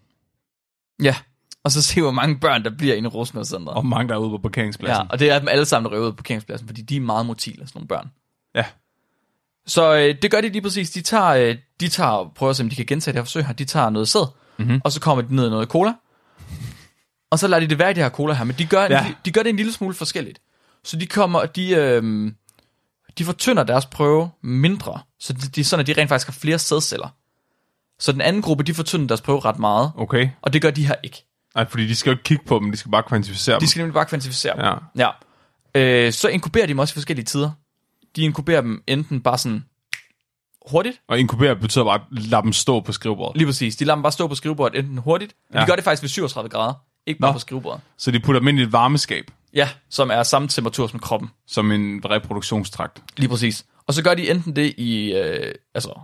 S1: Ja, og så se, hvor mange børn, der bliver inde i Rosenborg
S2: Og
S1: Om,
S2: mange der er ude på
S1: ja,
S2: parkeringspladsen.
S1: og det er dem alle sammen, der røver ud på parkeringspladsen, fordi de er meget motile, sådan nogle børn.
S2: Ja.
S1: Så øh, det gør de lige præcis. De tager, øh, de tager, prøver at se, om de kan gentage det her forsøg her. De tager noget sæd,
S2: Mhm.
S1: mm-hmm. og så kommer de ned i noget cola. Og så lader de det være i det her cola her, men de gør, en,
S2: Ja.
S1: ja. de gør det en lille smule forskelligt. Så de kommer, de, øh, de fortynder deres prøve mindre, så de, de, sådan at de rent faktisk har flere sædceller. Så den anden gruppe, de fortynder deres prøve ret meget,
S2: Okay.
S1: og det gør de her ikke.
S2: Nej, fordi de skal jo ikke kigge på dem, de skal bare kvantificere
S1: De
S2: dem.
S1: skal nemlig bare kvantificere dem.
S2: Ja.
S1: Ja. Øh, så inkuberer de dem også i forskellige tider. De inkuberer dem enten bare sådan hurtigt,
S2: Og inkubere betyder bare, at lade dem stå på skrivebordet.
S1: Lige præcis. De lader dem bare stå på skrivebordet enten hurtigt, men ja.
S2: Ja.
S1: de gør det faktisk ved 37 grader, ikke bare Nå.
S2: Nå.
S1: på skrivebordet.
S2: Så de putter dem ind i et varmeskab,
S1: Ja, som er samme temperatur som kroppen.
S2: som en reproduktionstrakt.
S1: Lige præcis. Og så gør de enten det i øh, altså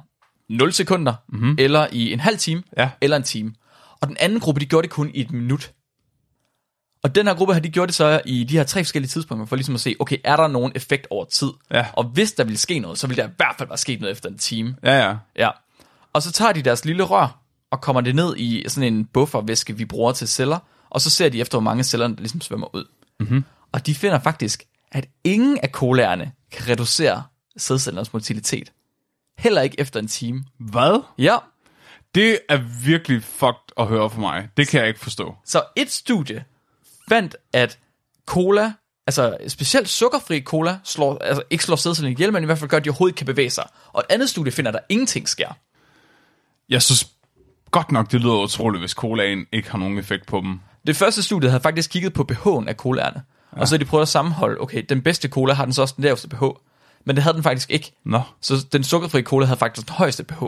S1: 0 sekunder, mm-hmm. eller i en halv time,
S2: Mhm. Ja.
S1: eller en time. Og den anden gruppe, de gjorde det kun i et minut. Og den her gruppe her, de gjorde det så i de her tre forskellige tidspunkter, for ligesom at se, okay, er der nogen effekt over tid?
S2: Ja.
S1: Og hvis der ville ske noget, så ville der i hvert fald være sket noget efter en time.
S2: Ja, ja.
S1: Ja. Og så tager de deres lille rør og kommer det ned i sådan en buffervæske, vi bruger til celler, og så ser de efter, hvor mange celler, der ligesom svømmer ud. Mm-hmm. Og de finder faktisk, at ingen af kolærerne kan reducere sædcellernes motilitet. Heller ikke efter en time.
S2: Hvad?
S1: Ja,
S2: Det er virkelig fucked at høre for mig. Det kan jeg ikke forstå.
S1: så et studie fandt, at cola, altså specielt sukkerfri cola, slår, altså ikke slår sædcellerne ihjel, men i hvert fald gør, at de overhovedet ikke kan bevæge sig. Og et andet studie finder, at der ingenting sker.
S2: Jeg synes godt nok, det lyder utroligt, hvis colaen ikke har nogen effekt på dem.
S1: Det første studie havde faktisk kigget på pH'en af colaerne. Ja. Og så havde de prøvet at sammenholde, okay, den bedste cola har den så også den laveste pH. Men det havde den faktisk ikke.
S2: Nå.
S1: Så den sukkerfri cola havde faktisk den højeste pH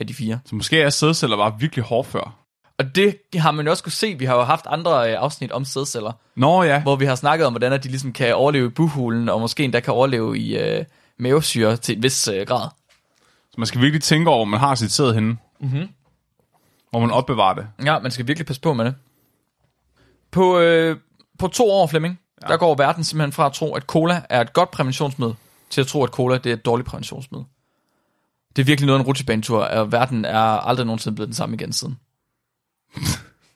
S1: af de fire.
S2: Så måske er sædceller bare virkelig hårdfør.
S1: Og det har man jo også kunne se. Vi har jo haft andre øh, afsnit om sædceller,
S2: Nå ja.
S1: hvor vi har snakket om, hvordan at de ligesom kan overleve i buhulen, og måske endda kan overleve i øh, mavesyre til en vis øh, grad.
S2: Så man skal virkelig tænke over, hvor man har sit sæd henne. Mm-hmm. Hvor man opbevarer det.
S1: Ja, man skal virkelig passe på med det. På, øh, på to år, Flemming, ja. der går verden simpelthen fra at tro, at cola er et godt præventionsmiddel, til at tro, at cola det er et dårligt præventionsmiddel. Det er virkelig noget af en rutsjebanetur, og verden er aldrig nogensinde blevet den samme igen siden.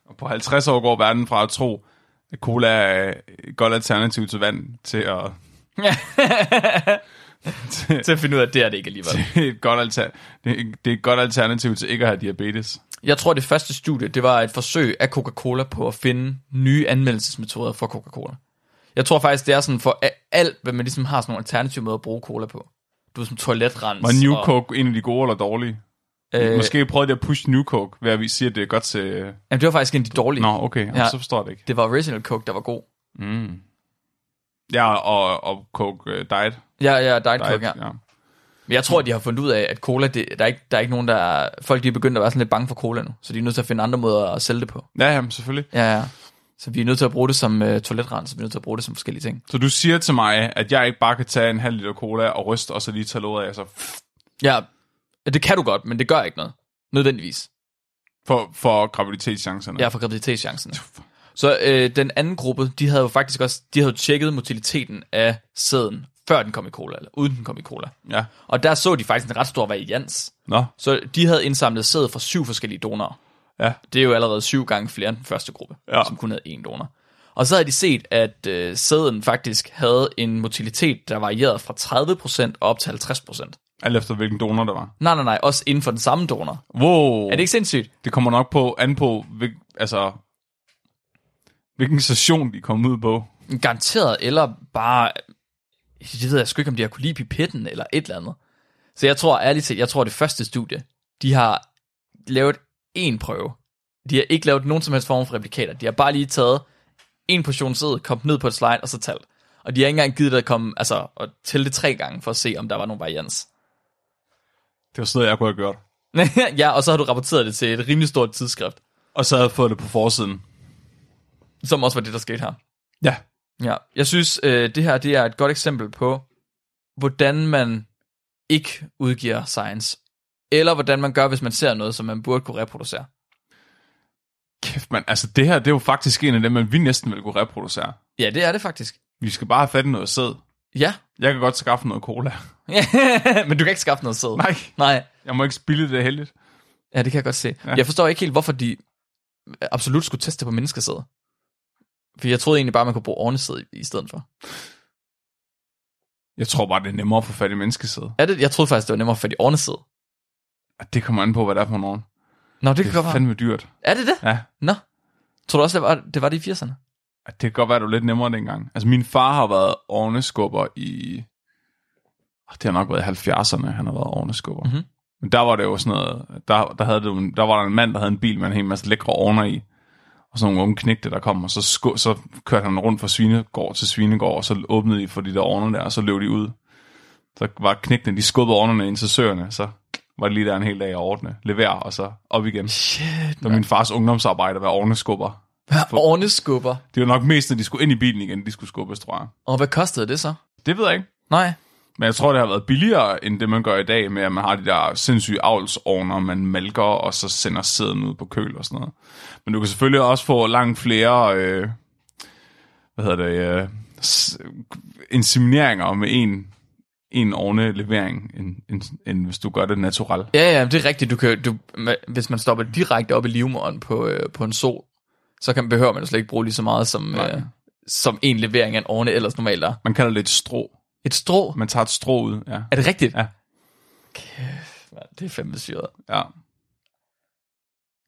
S2: Og på 50 år går verden fra at tro, at cola er et godt alternativ til vand, til at
S1: Til at finde ud af, at det er det ikke alligevel.
S2: det er et godt, alter, det er- det er et godt alternativ til ikke at have diabetes.
S1: Jeg tror, det første studie, det var et forsøg af Coca-Cola på at finde nye anmeldelsesmetoder for Coca-Cola. Jeg tror faktisk, det er sådan for a- alt, hvad man ligesom har sådan nogle alternative måder at bruge cola på. Du ved, som toiletrens.
S2: Var New
S1: og-
S2: Coke en af de gode eller dårlige? Øh, Måske prøvede de at pushe New Coke, ved at vi siger, at det er godt til...
S1: Jamen, det var faktisk en af de dårlige.
S2: Nå, okay, ja.
S1: Ja.
S2: så forstår jeg det ikke.
S1: Det var Original Coke, der var god.
S2: Mm. Ja, og, og Coke øh, Diet.
S1: Ja, ja, Diet
S2: Diet
S1: Coke, ja. Men jeg tror, de har fundet ud af, at cola, det, der, er ikke, der er ikke nogen, der er, Folk de er begyndt at være sådan lidt bange for cola nu, så de er nødt til at finde andre måder at sælge det på.
S2: ja, ja, men selvfølgelig.
S1: Ja, ja. Så vi er nødt til at bruge det som øh, toiletrens, så vi er nødt til at bruge det som forskellige ting.
S2: Så du siger til mig, at jeg ikke bare kan tage en halv liter cola og ryste, og så lige tage låget af, altså, så
S1: Ja, det kan du godt, men det gør ikke noget. Nødvendigvis.
S2: for, for graviditetschancerne.
S1: Ja, for graviditetschancerne. Så øh, den anden gruppe, de havde jo faktisk også, de havde jo tjekket motiliteten af sæden, før den kom i cola, eller uden den kom i cola.
S2: Ja.
S1: Og der så de faktisk en ret stor varians.
S2: Nå,
S1: Så de havde indsamlet sæd fra syv forskellige donorer.
S2: ja.
S1: Det er jo allerede syv gange flere end den første gruppe,
S2: Ja.
S1: ja. som kun havde én donor. Og så havde de set, at øh, sæden faktisk havde en motilitet, der varierede fra 30% op til 50%.
S2: Alt efter hvilken donor der var.
S1: Nej, nej, nej, også inden for den samme donor.
S2: Wow.
S1: Er det ikke sindssygt?
S2: det kommer nok på, an på, hvil, altså, hvilken station de kom ud på.
S1: Garanteret, eller bare... Det ved jeg sgu ikke, om de har kunne lide pipitten eller et eller andet. Så jeg tror, ærligt talt, jeg tror, det første studie, de har lavet én prøve. De har ikke lavet nogen som helst form for replikater. De har bare lige taget en portion sæd, kommet ned på et slide og så talt. Og de har ikke engang givet det at komme, altså, at tælle det tre gange for at se, om der var nogen varians.
S2: Det var sådan noget, jeg kunne have gjort.
S1: ja, og så har du rapporteret det til et rimelig stort tidsskrift,
S2: Og så havde jeg fået det på forsiden.
S1: som også var det, der skete her.
S2: Ja.
S1: Ja, jeg synes, øh, det her det er et godt eksempel på, hvordan man ikke udgiver science. Eller hvordan man gør, hvis man ser noget, som man burde kunne reproducere.
S2: Kæft, mand. Altså, det her, det er jo faktisk en af dem, man vi næsten ville kunne reproducere.
S1: Ja, det er det faktisk.
S2: Vi skal bare have fat i noget sæd.
S1: Ja.
S2: Jeg kan godt skaffe noget cola.
S1: Men du kan ikke skaffe noget sæd.
S2: Nej,
S1: Nej.
S2: jeg må ikke spille det heldigt.
S1: Ja, det kan jeg godt se. Ja. Jeg forstår ikke helt, hvorfor de absolut skulle teste på menneskesæd. For jeg troede egentlig bare, man kunne bruge ornesæd i stedet for.
S2: Jeg tror bare, det er nemmere at få fat i menneskesæd.
S1: Er det, jeg troede faktisk, det var nemmere for de ornesæd.
S2: Og Det kommer an på, hvad der er for nogen.
S1: Nå, det, det
S2: Det
S1: kan godt
S2: er
S1: være.
S2: fandme dyrt.
S1: Er det det?
S2: Ja.
S1: Nå. Tror du også, det var det, var det i 80'erne?
S2: Det kan godt være, det var lidt nemmere dengang. Altså, min far har været ovneskubber i... Ah, Det har nok været i 70'erne, han har været ovneskubber.
S1: Mhm.
S2: Mm-hmm. Men der var det jo sådan noget... Der, der, havde det, jo- der var der en mand, der havde en bil med en hel masse lækre ovner i. Og sådan nogle unge knægte, der kom, og så, sku, så kørte han rundt fra Svinegård til Svinegård, og så åbnede de for de der ovner der, og så løb de ud. Så var knægtene, de skubbede ovnerne ind til søerne, så var det lige der en hel dag at ordne, levere, og så op igen. Det
S1: Shit.
S2: var min fars ungdomsarbejde at være ovneskubber.
S1: Orneskubber.
S2: Det var nok mest, når de skulle ind i bilen igen, de skulle skubbes, tror jeg.
S1: Og hvad kostede det så?
S2: Det ved jeg ikke.
S1: Nej.
S2: Men jeg tror, det har været billigere, end det, man gør i dag, med at man har de der sindssyge avlsovner, man malker, og så sender sæden ud på køl og sådan noget. Men du kan selvfølgelig også få langt flere, øh, hvad hedder det, øh, s- insemineringer med en, en ovne levering, end, end, end, hvis du gør det natural.
S1: Ja, ja, det er rigtigt. Du kan, du, ma- hvis man stopper direkte op i livmoderen på, øh, på en sol, så kan, behøver man jo slet ikke bruge lige så meget som,
S2: Nej.
S1: øh, som en levering af en årne ellers normalt er.
S2: Man kalder det et strå.
S1: Et strå?
S2: Man tager et strå ud, ja.
S1: Er det rigtigt?
S2: Ja.
S1: Kæft, man, det er fandme syret.
S2: ja.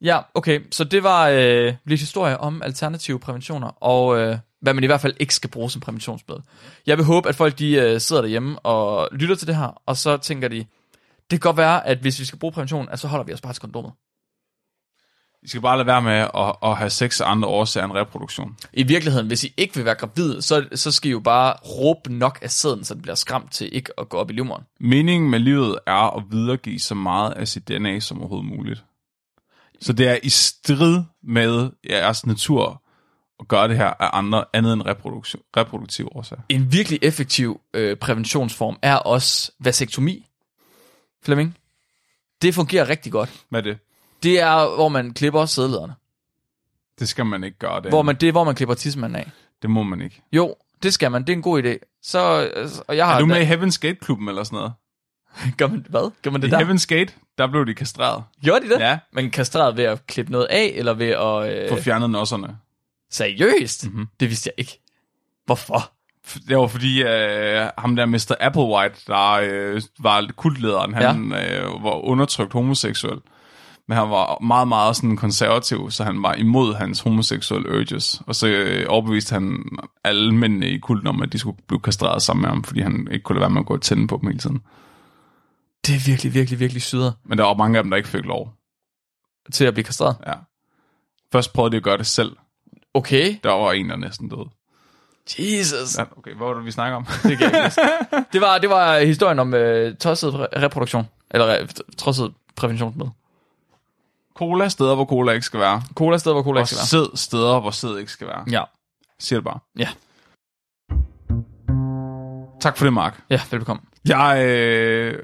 S1: Ja, okay. Så det var øh, lidt historie om alternative præventioner, og øh, hvad man i hvert fald ikke skal bruge som præventionsmiddel. Jeg vil håbe, at folk de øh, sidder derhjemme og lytter til det her, og så tænker de, det kan godt være, at hvis vi skal bruge prævention, at så holder vi os bare til kondomet.
S2: I skal bare lade være med at, at have sex af andre årsager end reproduktion.
S1: I virkeligheden, hvis I ikke vil være gravid, så, så skal I jo bare råbe nok af sæden, så den bliver skræmt til ikke at gå op i livmoderen.
S2: Meningen med livet er at videregive så meget af sit DNA som overhovedet muligt. Så det er i strid med jeres natur at gøre det her af andre, andet end reproduktion, reproduktiv årsager.
S1: En virkelig effektiv øh, præventionsform er også vasektomi. Flemming, det fungerer rigtig godt.
S2: Hvad er det?
S1: Det er, hvor man klipper sædlederne.
S2: Det skal man ikke gøre. Det,
S1: Hvor man, Ah, det er, hvor man klipper tissemanden af.
S2: det må man ikke.
S1: Jo, det skal man. Det er en god idé. Så, øh, og jeg har...
S2: Er du med i Heaven's Gate-klubben eller sådan noget?
S1: Gør man, hvad? Gør man
S2: I
S1: det der?
S2: Heaven's Gate, der blev de kastreret.
S1: Gjorde de det?
S2: Ja.
S1: Man kastreret ved at klippe noget af, eller ved at...
S2: For
S1: Øh,
S2: fjernet nosserne.
S1: seriøst? Mm-hmm. Det vidste jeg ikke. Hvorfor?
S2: F- Det var fordi, øh, ham der Mr. Applewhite, der øh, var kultlederen, han øh, var undertrykt homoseksuel. Men han var meget, meget sådan konservativ, så han var imod hans homoseksuelle urges. Og så øh, overbeviste han alle mændene i kulten om, at de skulle blive kastreret sammen med ham, fordi han ikke kunne lade være med at gå og tænde på dem hele tiden.
S1: Det er virkelig, virkelig, virkelig syder
S2: Men der var mange af dem, der ikke fik lov.
S1: til at blive kastreret.
S2: Ja. Først prøvede de at gøre det selv.
S1: Okay.
S2: Der var en, der næsten døde.
S1: Jesus.
S2: Ja, okay, hvad var det, vi snakker om?
S1: Det, kan jeg ikke huske. det, var, det var historien om øh, tosset re- reproduktion. Eller re- tosset præventionsmiddel.
S2: cola steder, hvor cola ikke skal være.
S1: Cola steder, hvor cola
S2: Og
S1: ikke skal være.
S2: sæd steder, hvor sæd ikke skal være.
S1: Ja.
S2: Siger det bare.
S1: Ja.
S2: Tak for det, Mark.
S1: ja, velbekomme.
S2: Jeg øh,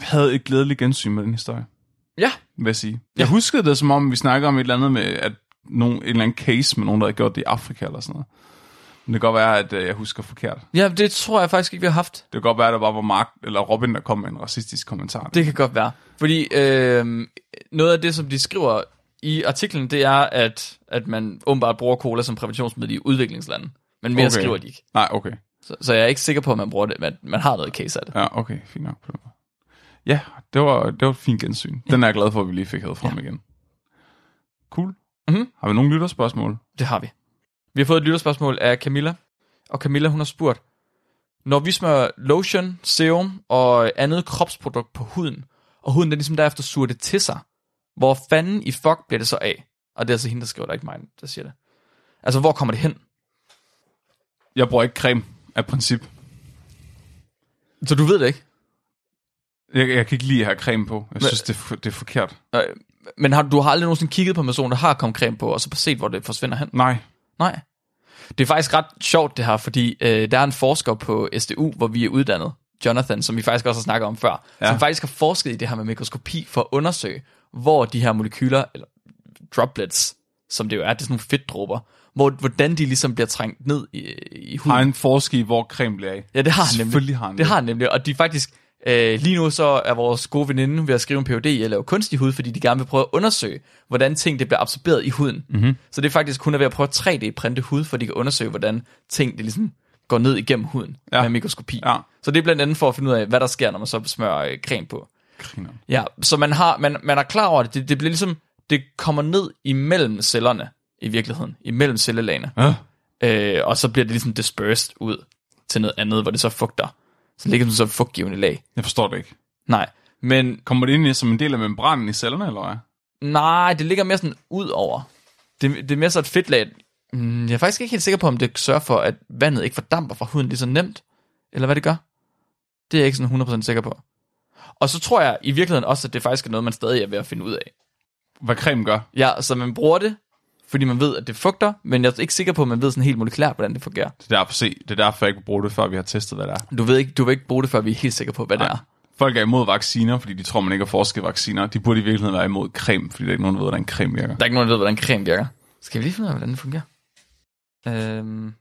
S2: havde et glædeligt gensyn med den historie,
S1: Ja,
S2: vil jeg sige. Jeg
S1: Ja.
S2: huskede det, som om vi snakkede om et eller andet med, at nogen, en eller anden case med nogen, der havde gjort det i Afrika eller sådan noget. Men det kan godt være, at øh, jeg husker forkert.
S1: Ja, det tror jeg faktisk ikke, vi har haft.
S2: Det kan godt være, at der bare var Mark eller Robin, der kom med en racistisk kommentar.
S1: Det kan godt være. Fordi øh, noget af det, som de skriver i artiklen, det er, at, at man åbenbart bruger cola som præventionsmiddel i udviklingslande. Men mere okay. skriver de ikke.
S2: Nej, okay.
S1: Så, så jeg er ikke sikker på, at man, bruger det, man, man har noget case af det.
S2: Ja, okay. Fint nok på den måde. Ja, det var, det var et fint gensyn. Den er jeg glad for, at vi lige fik hævet frem ja. igen. Cool.
S1: Mhm.
S2: Har vi nogle lytterspørgsmål?
S1: Det har vi. Vi har fået et lytterspørgsmål af Camilla, og Camilla hun har spurgt, når vi smører lotion, serum og andet kropsprodukt på huden, og huden den ligesom derefter suger det til sig, hvor fanden i fuck bliver det så af? Og det er altså hende, der skriver, der er ikke mig, der siger det. Altså, hvor kommer det hen?
S2: Jeg bruger ikke creme af princip.
S1: Så du ved det ikke?
S2: Jeg, jeg kan ikke lide at have creme på. Jeg synes, det er, for- det er forkert.
S1: Øh, Men har, du har aldrig nogensinde kigget på en person, der har kommet creme på, og så set, hvor det forsvinder hen?
S2: Nej.
S1: Nej. Det er faktisk ret sjovt det her, fordi øh, der er en forsker på SDU, hvor vi er uddannet, Jonathan, som vi faktisk også har snakket om før, ja. som faktisk har forsket i det her med mikroskopi for at undersøge, hvor de her molekyler, eller droplets, som det jo er, det er sådan nogle fedtdråber, hvor, hvordan de ligesom bliver trængt ned i, i huden.
S2: Har en forsker i, hvor creme bliver af?
S1: Ja, det har han nemlig.
S2: Selvfølgelig har han
S1: det. har han nemlig, og de er faktisk... Øh, lige nu så er vores gode veninde ved at skrive en PhD i at lave kunstig hud, fordi de gerne vil prøve at undersøge, hvordan ting det bliver absorberet i huden.
S2: Mhm.
S1: Mm-hmm. Så det er faktisk, hun er ved at prøve at 3D-printe hud, for de kan undersøge, hvordan ting det ligesom går ned igennem huden ja.
S2: Ja.
S1: med mikroskopi.
S2: Ja.
S1: Så det er blandt andet for at finde ud af, hvad der sker, når man så smører øh, creme på.
S2: Griner.
S1: Ja, så man, har, man, man er klar over det. det. Det bliver ligesom, det kommer ned imellem cellerne i virkeligheden, imellem cellelagene
S2: Ja.
S1: øh, og så bliver det ligesom dispersed ud til noget andet, hvor det så fugter. Så det ligger det som så fugtgivende lag.
S2: Jeg forstår det ikke.
S1: Nej, men
S2: Kommer det ind i- som en del af membranen i cellerne, eller hvad?
S1: nej, det ligger mere sådan ud over. Det, det er mere så et fedtlag. Mm, jeg er faktisk ikke helt sikker på, om det sørger for, at vandet ikke fordamper fra huden lige så nemt, eller hvad det gør. Det er jeg ikke sådan 100% sikker på. Og så tror jeg i virkeligheden også, at det faktisk er noget, man stadig er ved at finde ud af.
S2: Hvad creme gør?
S1: Ja, så man bruger det, fordi man ved, at det fugter, men jeg er ikke sikker på, at man ved sådan helt molekylært, hvordan det fungerer.
S2: Det er derfor, se, det er derfor jeg ikke bruger det, før vi har testet, hvad det er.
S1: Du, ved ikke, du vil ikke bruge det, før vi er helt sikre på, hvad det
S2: Nej.
S1: er.
S2: Folk er imod vacciner, fordi de tror, man ikke har forsket i vacciner. De burde i virkeligheden være imod creme, fordi der er ikke nogen, der ved, hvordan creme virker.
S1: Der er ikke nogen, der ved, hvordan creme virker. Skal vi lige finde ud af, hvordan den fungerer? Øhm.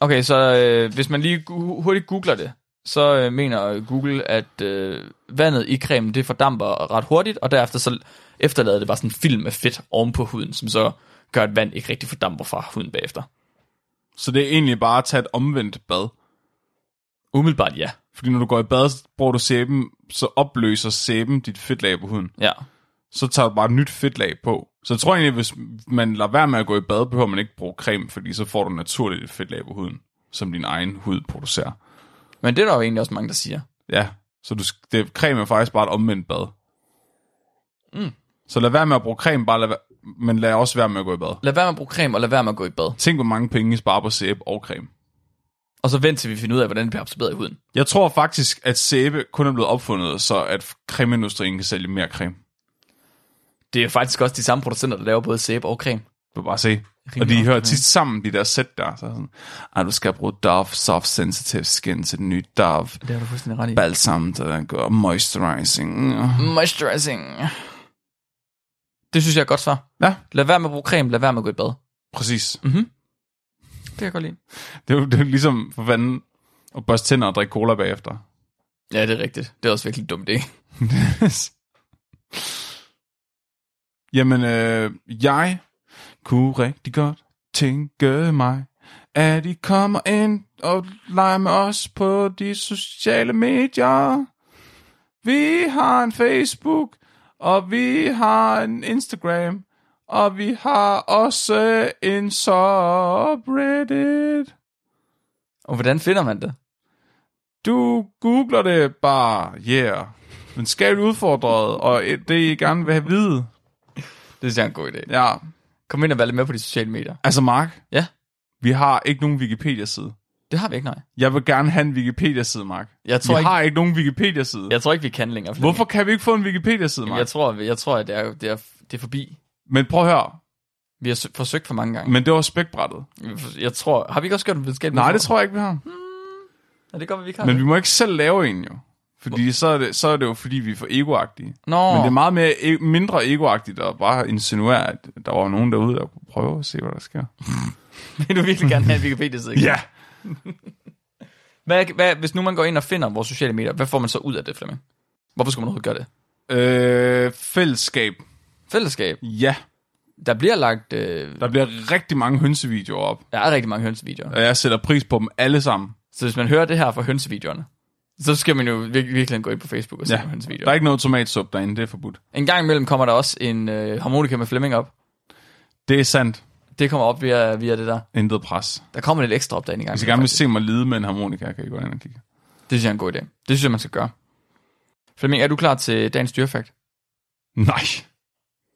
S1: Okay, så øh, hvis man lige gu- hurtigt googler det, så øh, mener Google, at øh, vandet i cremen, det fordamper ret hurtigt, og derefter så efterlader det bare sådan en film af fedt oven på huden, som så gør, at vand ikke rigtig fordamper fra huden bagefter.
S2: Så det er egentlig bare at tage et omvendt bad.
S1: Umiddelbart ja.
S2: Fordi når du går i bad, så bruger du sæben, så opløser sæben dit fedtlag på huden.
S1: Ja,
S2: Så tager du bare et nyt fedtlag på. Så jeg tror egentlig, hvis man lader være med at gå i bad, behøver man ikke bruge creme, fordi så får du naturligt et fedtlag på huden, som din egen hud producerer.
S1: men det er der jo egentlig også mange, der siger.
S2: Ja, så du, sk- det, creme er faktisk bare et omvendt bad. Mm. Så lad være med at bruge creme, bare lad, væ- men lad også være med at gå i bad.
S1: Lad være med at bruge creme, og lad være med at gå i bad.
S2: Tænk, hvor mange penge I sparer på sæbe og creme.
S1: Og så vent til vi finder ud af, hvordan det bliver absorberet i huden.
S2: Jeg tror faktisk, at sæbe kun er blevet opfundet, så at cremeindustrien kan sælge mere creme.
S1: Det er faktisk også de samme producenter, der laver både sæbe og creme.
S2: Du kan bare se. og de
S1: nok,
S2: hører tit sammen, de der sæt der. Så er sådan, ah, du skal bruge Dove Soft Sensitive Skin til den nye Dove.
S1: Det har du fuldstændig ret i.
S2: Balsam, der gør moisturizing.
S1: Moisturizing. Det synes jeg er et godt svar.
S2: Ja,
S1: Lad være med at bruge creme, lad være med at gå i bad.
S2: præcis.
S1: Det kan jeg godt lide.
S2: Det er jo, det er jo ligesom for fanden at børste tænder og drikke cola bagefter.
S1: Ja, det er rigtigt. Det er også virkelig dumt, det
S2: Jamen, øh, jeg kunne rigtig godt tænke mig, at I kommer ind og leger med os på de sociale medier. Vi har en Facebook, og vi har en Instagram, og vi har også en subreddit.
S1: Og hvordan finder man det?
S2: Du googler det bare, yeah. Men skal du udfordret, og det I gerne vil have at vide,
S1: Det synes jeg er en god idé.
S2: ja.
S1: Kom ind og vær lidt med på de sociale medier.
S2: Altså Mark,
S1: Ja,
S2: vi har ikke nogen Wikipedia-side.
S1: det har vi ikke, nej.
S2: Jeg vil gerne have en Wikipedia-side, Mark.
S1: Jeg tror
S2: vi
S1: ikke-
S2: har ikke nogen Wikipedia-side.
S1: Jeg tror ikke, vi kan længere. Flemming.
S2: Hvorfor kan vi ikke få en Wikipedia-side, Mark?
S1: Jeg tror, jeg tror at det er, det, er, det er forbi.
S2: Men prøv at høre.
S1: Vi har sø- forsøgt for mange gange.
S2: Men det var spækbrættet.
S1: Jeg tror, har vi ikke også gjort en videnskabelig?
S2: Nej, det tror jeg ikke, vi
S1: jeg.
S2: har.
S1: Det gør vi, vi ikke har.
S2: Men vi må ikke selv lave en, jo. Fordi så er, det, så er det jo, fordi vi er for egoagtige.
S1: Nå.
S2: Men det er meget mere, e- mindre egoagtigt at bare insinuere, at der var nogen derude, der kunne prøve at se, hvad der sker.
S1: Vil du virkelig gerne have en Wikipedia-side? Hvad, hvad, hvis nu man går ind og finder vores sociale medier, hvad får man så ud af det, Flemming? Hvorfor skulle man overhovedet gøre det?
S2: Øh, fællesskab.
S1: Fællesskab.
S2: Ja.
S1: Der bliver lagt... Øh,
S2: Der bliver rigtig mange hønsevideoer op.
S1: der er rigtig mange hønsevideoer.
S2: Og jeg sætter pris på dem alle sammen.
S1: Så hvis man hører det her fra hønsevideoerne, så skal man jo vir- virkelig gå ind på Facebook og se ja. hønsevideoer.
S2: Der er ikke noget tomatsup derinde, det er forbudt.
S1: En gang imellem kommer der også en øh, harmonika med Flemming op.
S2: Det er sandt.
S1: Det kommer op via, via det der.
S2: Intet pres.
S1: Der kommer lidt ekstra op derinde en gang.
S2: Hvis I
S1: imellem,
S2: gerne vil
S1: faktisk.
S2: se mig lide med en harmonika, kan I gå ind og kigge.
S1: Det synes jeg er en god idé. Det synes jeg, man skal gøre. Flemming, er du klar til dagens dyrefakt?
S2: Nej.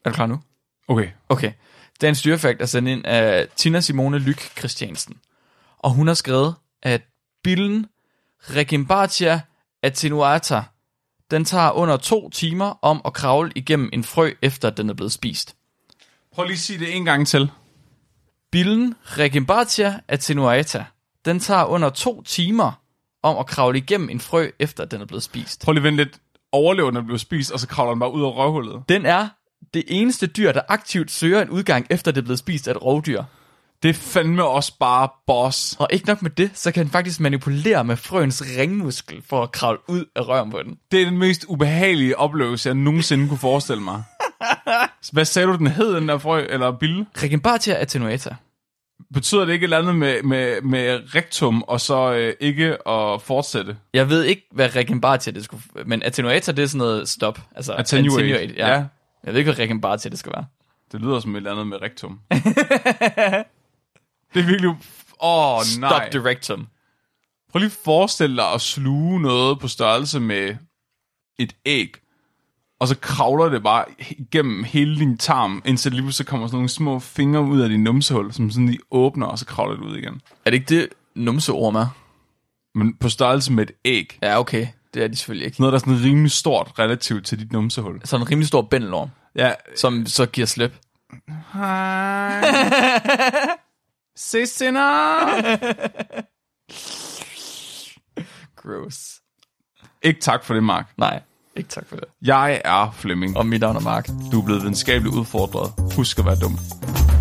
S1: Er du klar nu?
S2: Okay.
S1: Okay. Dagens dyrefakt er sendt ind af Tina Simone Lyk Christiansen. Og hun har skrevet, at billen Regimbatia attenuata, den tager under to timer om at kravle igennem en frø, efter at den er blevet spist.
S2: Prøv lige at sige det en gang til.
S1: Billen Regimbatia attenuata, den tager under to timer om at kravle igennem en frø, efter at den er blevet spist.
S2: Prøv lige at vente lidt. Overlever, når den bliver spist, og så kravler den bare ud af røvhullet.
S1: Den er det eneste dyr, der aktivt søger en udgang, efter det er blevet spist af et rovdyr.
S2: Det er fandme også bare boss.
S1: Og ikke nok med det, så kan den faktisk manipulere med frøens ringmuskel for at kravle ud af røven på den.
S2: Det er den mest ubehagelige oplevelse, jeg nogensinde kunne forestille mig. Hvad sagde du, den hed, den der frø, eller bille?
S1: Regimbatia attenuata.
S2: Betyder det ikke et eller andet med, med, med rektum, og så øh, ikke at fortsætte?
S1: Jeg ved ikke, hvad regimbatia det skulle... Men attenuata, det er sådan noget stop. Altså,
S2: Attenuate.
S1: ja.
S2: Ja.
S1: ja. Jeg ved ikke, hvad regimbatia det skal være.
S2: Det lyder som et eller andet med rektum. det er virkelig... Åh, oh,
S1: Stop
S2: nej.
S1: the rectum.
S2: Prøv lige at forestille dig at sluge noget på størrelse med et æg, og så kravler det bare igennem hele din tarm, indtil lige pludselig kommer sådan nogle små fingre ud af din numsehul, som sådan lige åbner, og så kravler det ud igen.
S1: Er det ikke det, numseorm er?
S2: Men på størrelse med et æg.
S1: Ja, okay. Det er de selvfølgelig ikke.
S2: Noget, der er sådan rimelig stort relativt til dit numsehul.
S1: Så en rimelig stor bændelorm,
S2: Ja.
S1: som så giver slip.
S2: Hej. Se senere.
S1: Gross.
S2: Ikke tak for det, Mark.
S1: Nej, ikke tak for det.
S2: Jeg er Flemming, og
S1: Og mit navn er Mark.
S2: du er blevet videnskabeligt udfordret. Husk at være dum.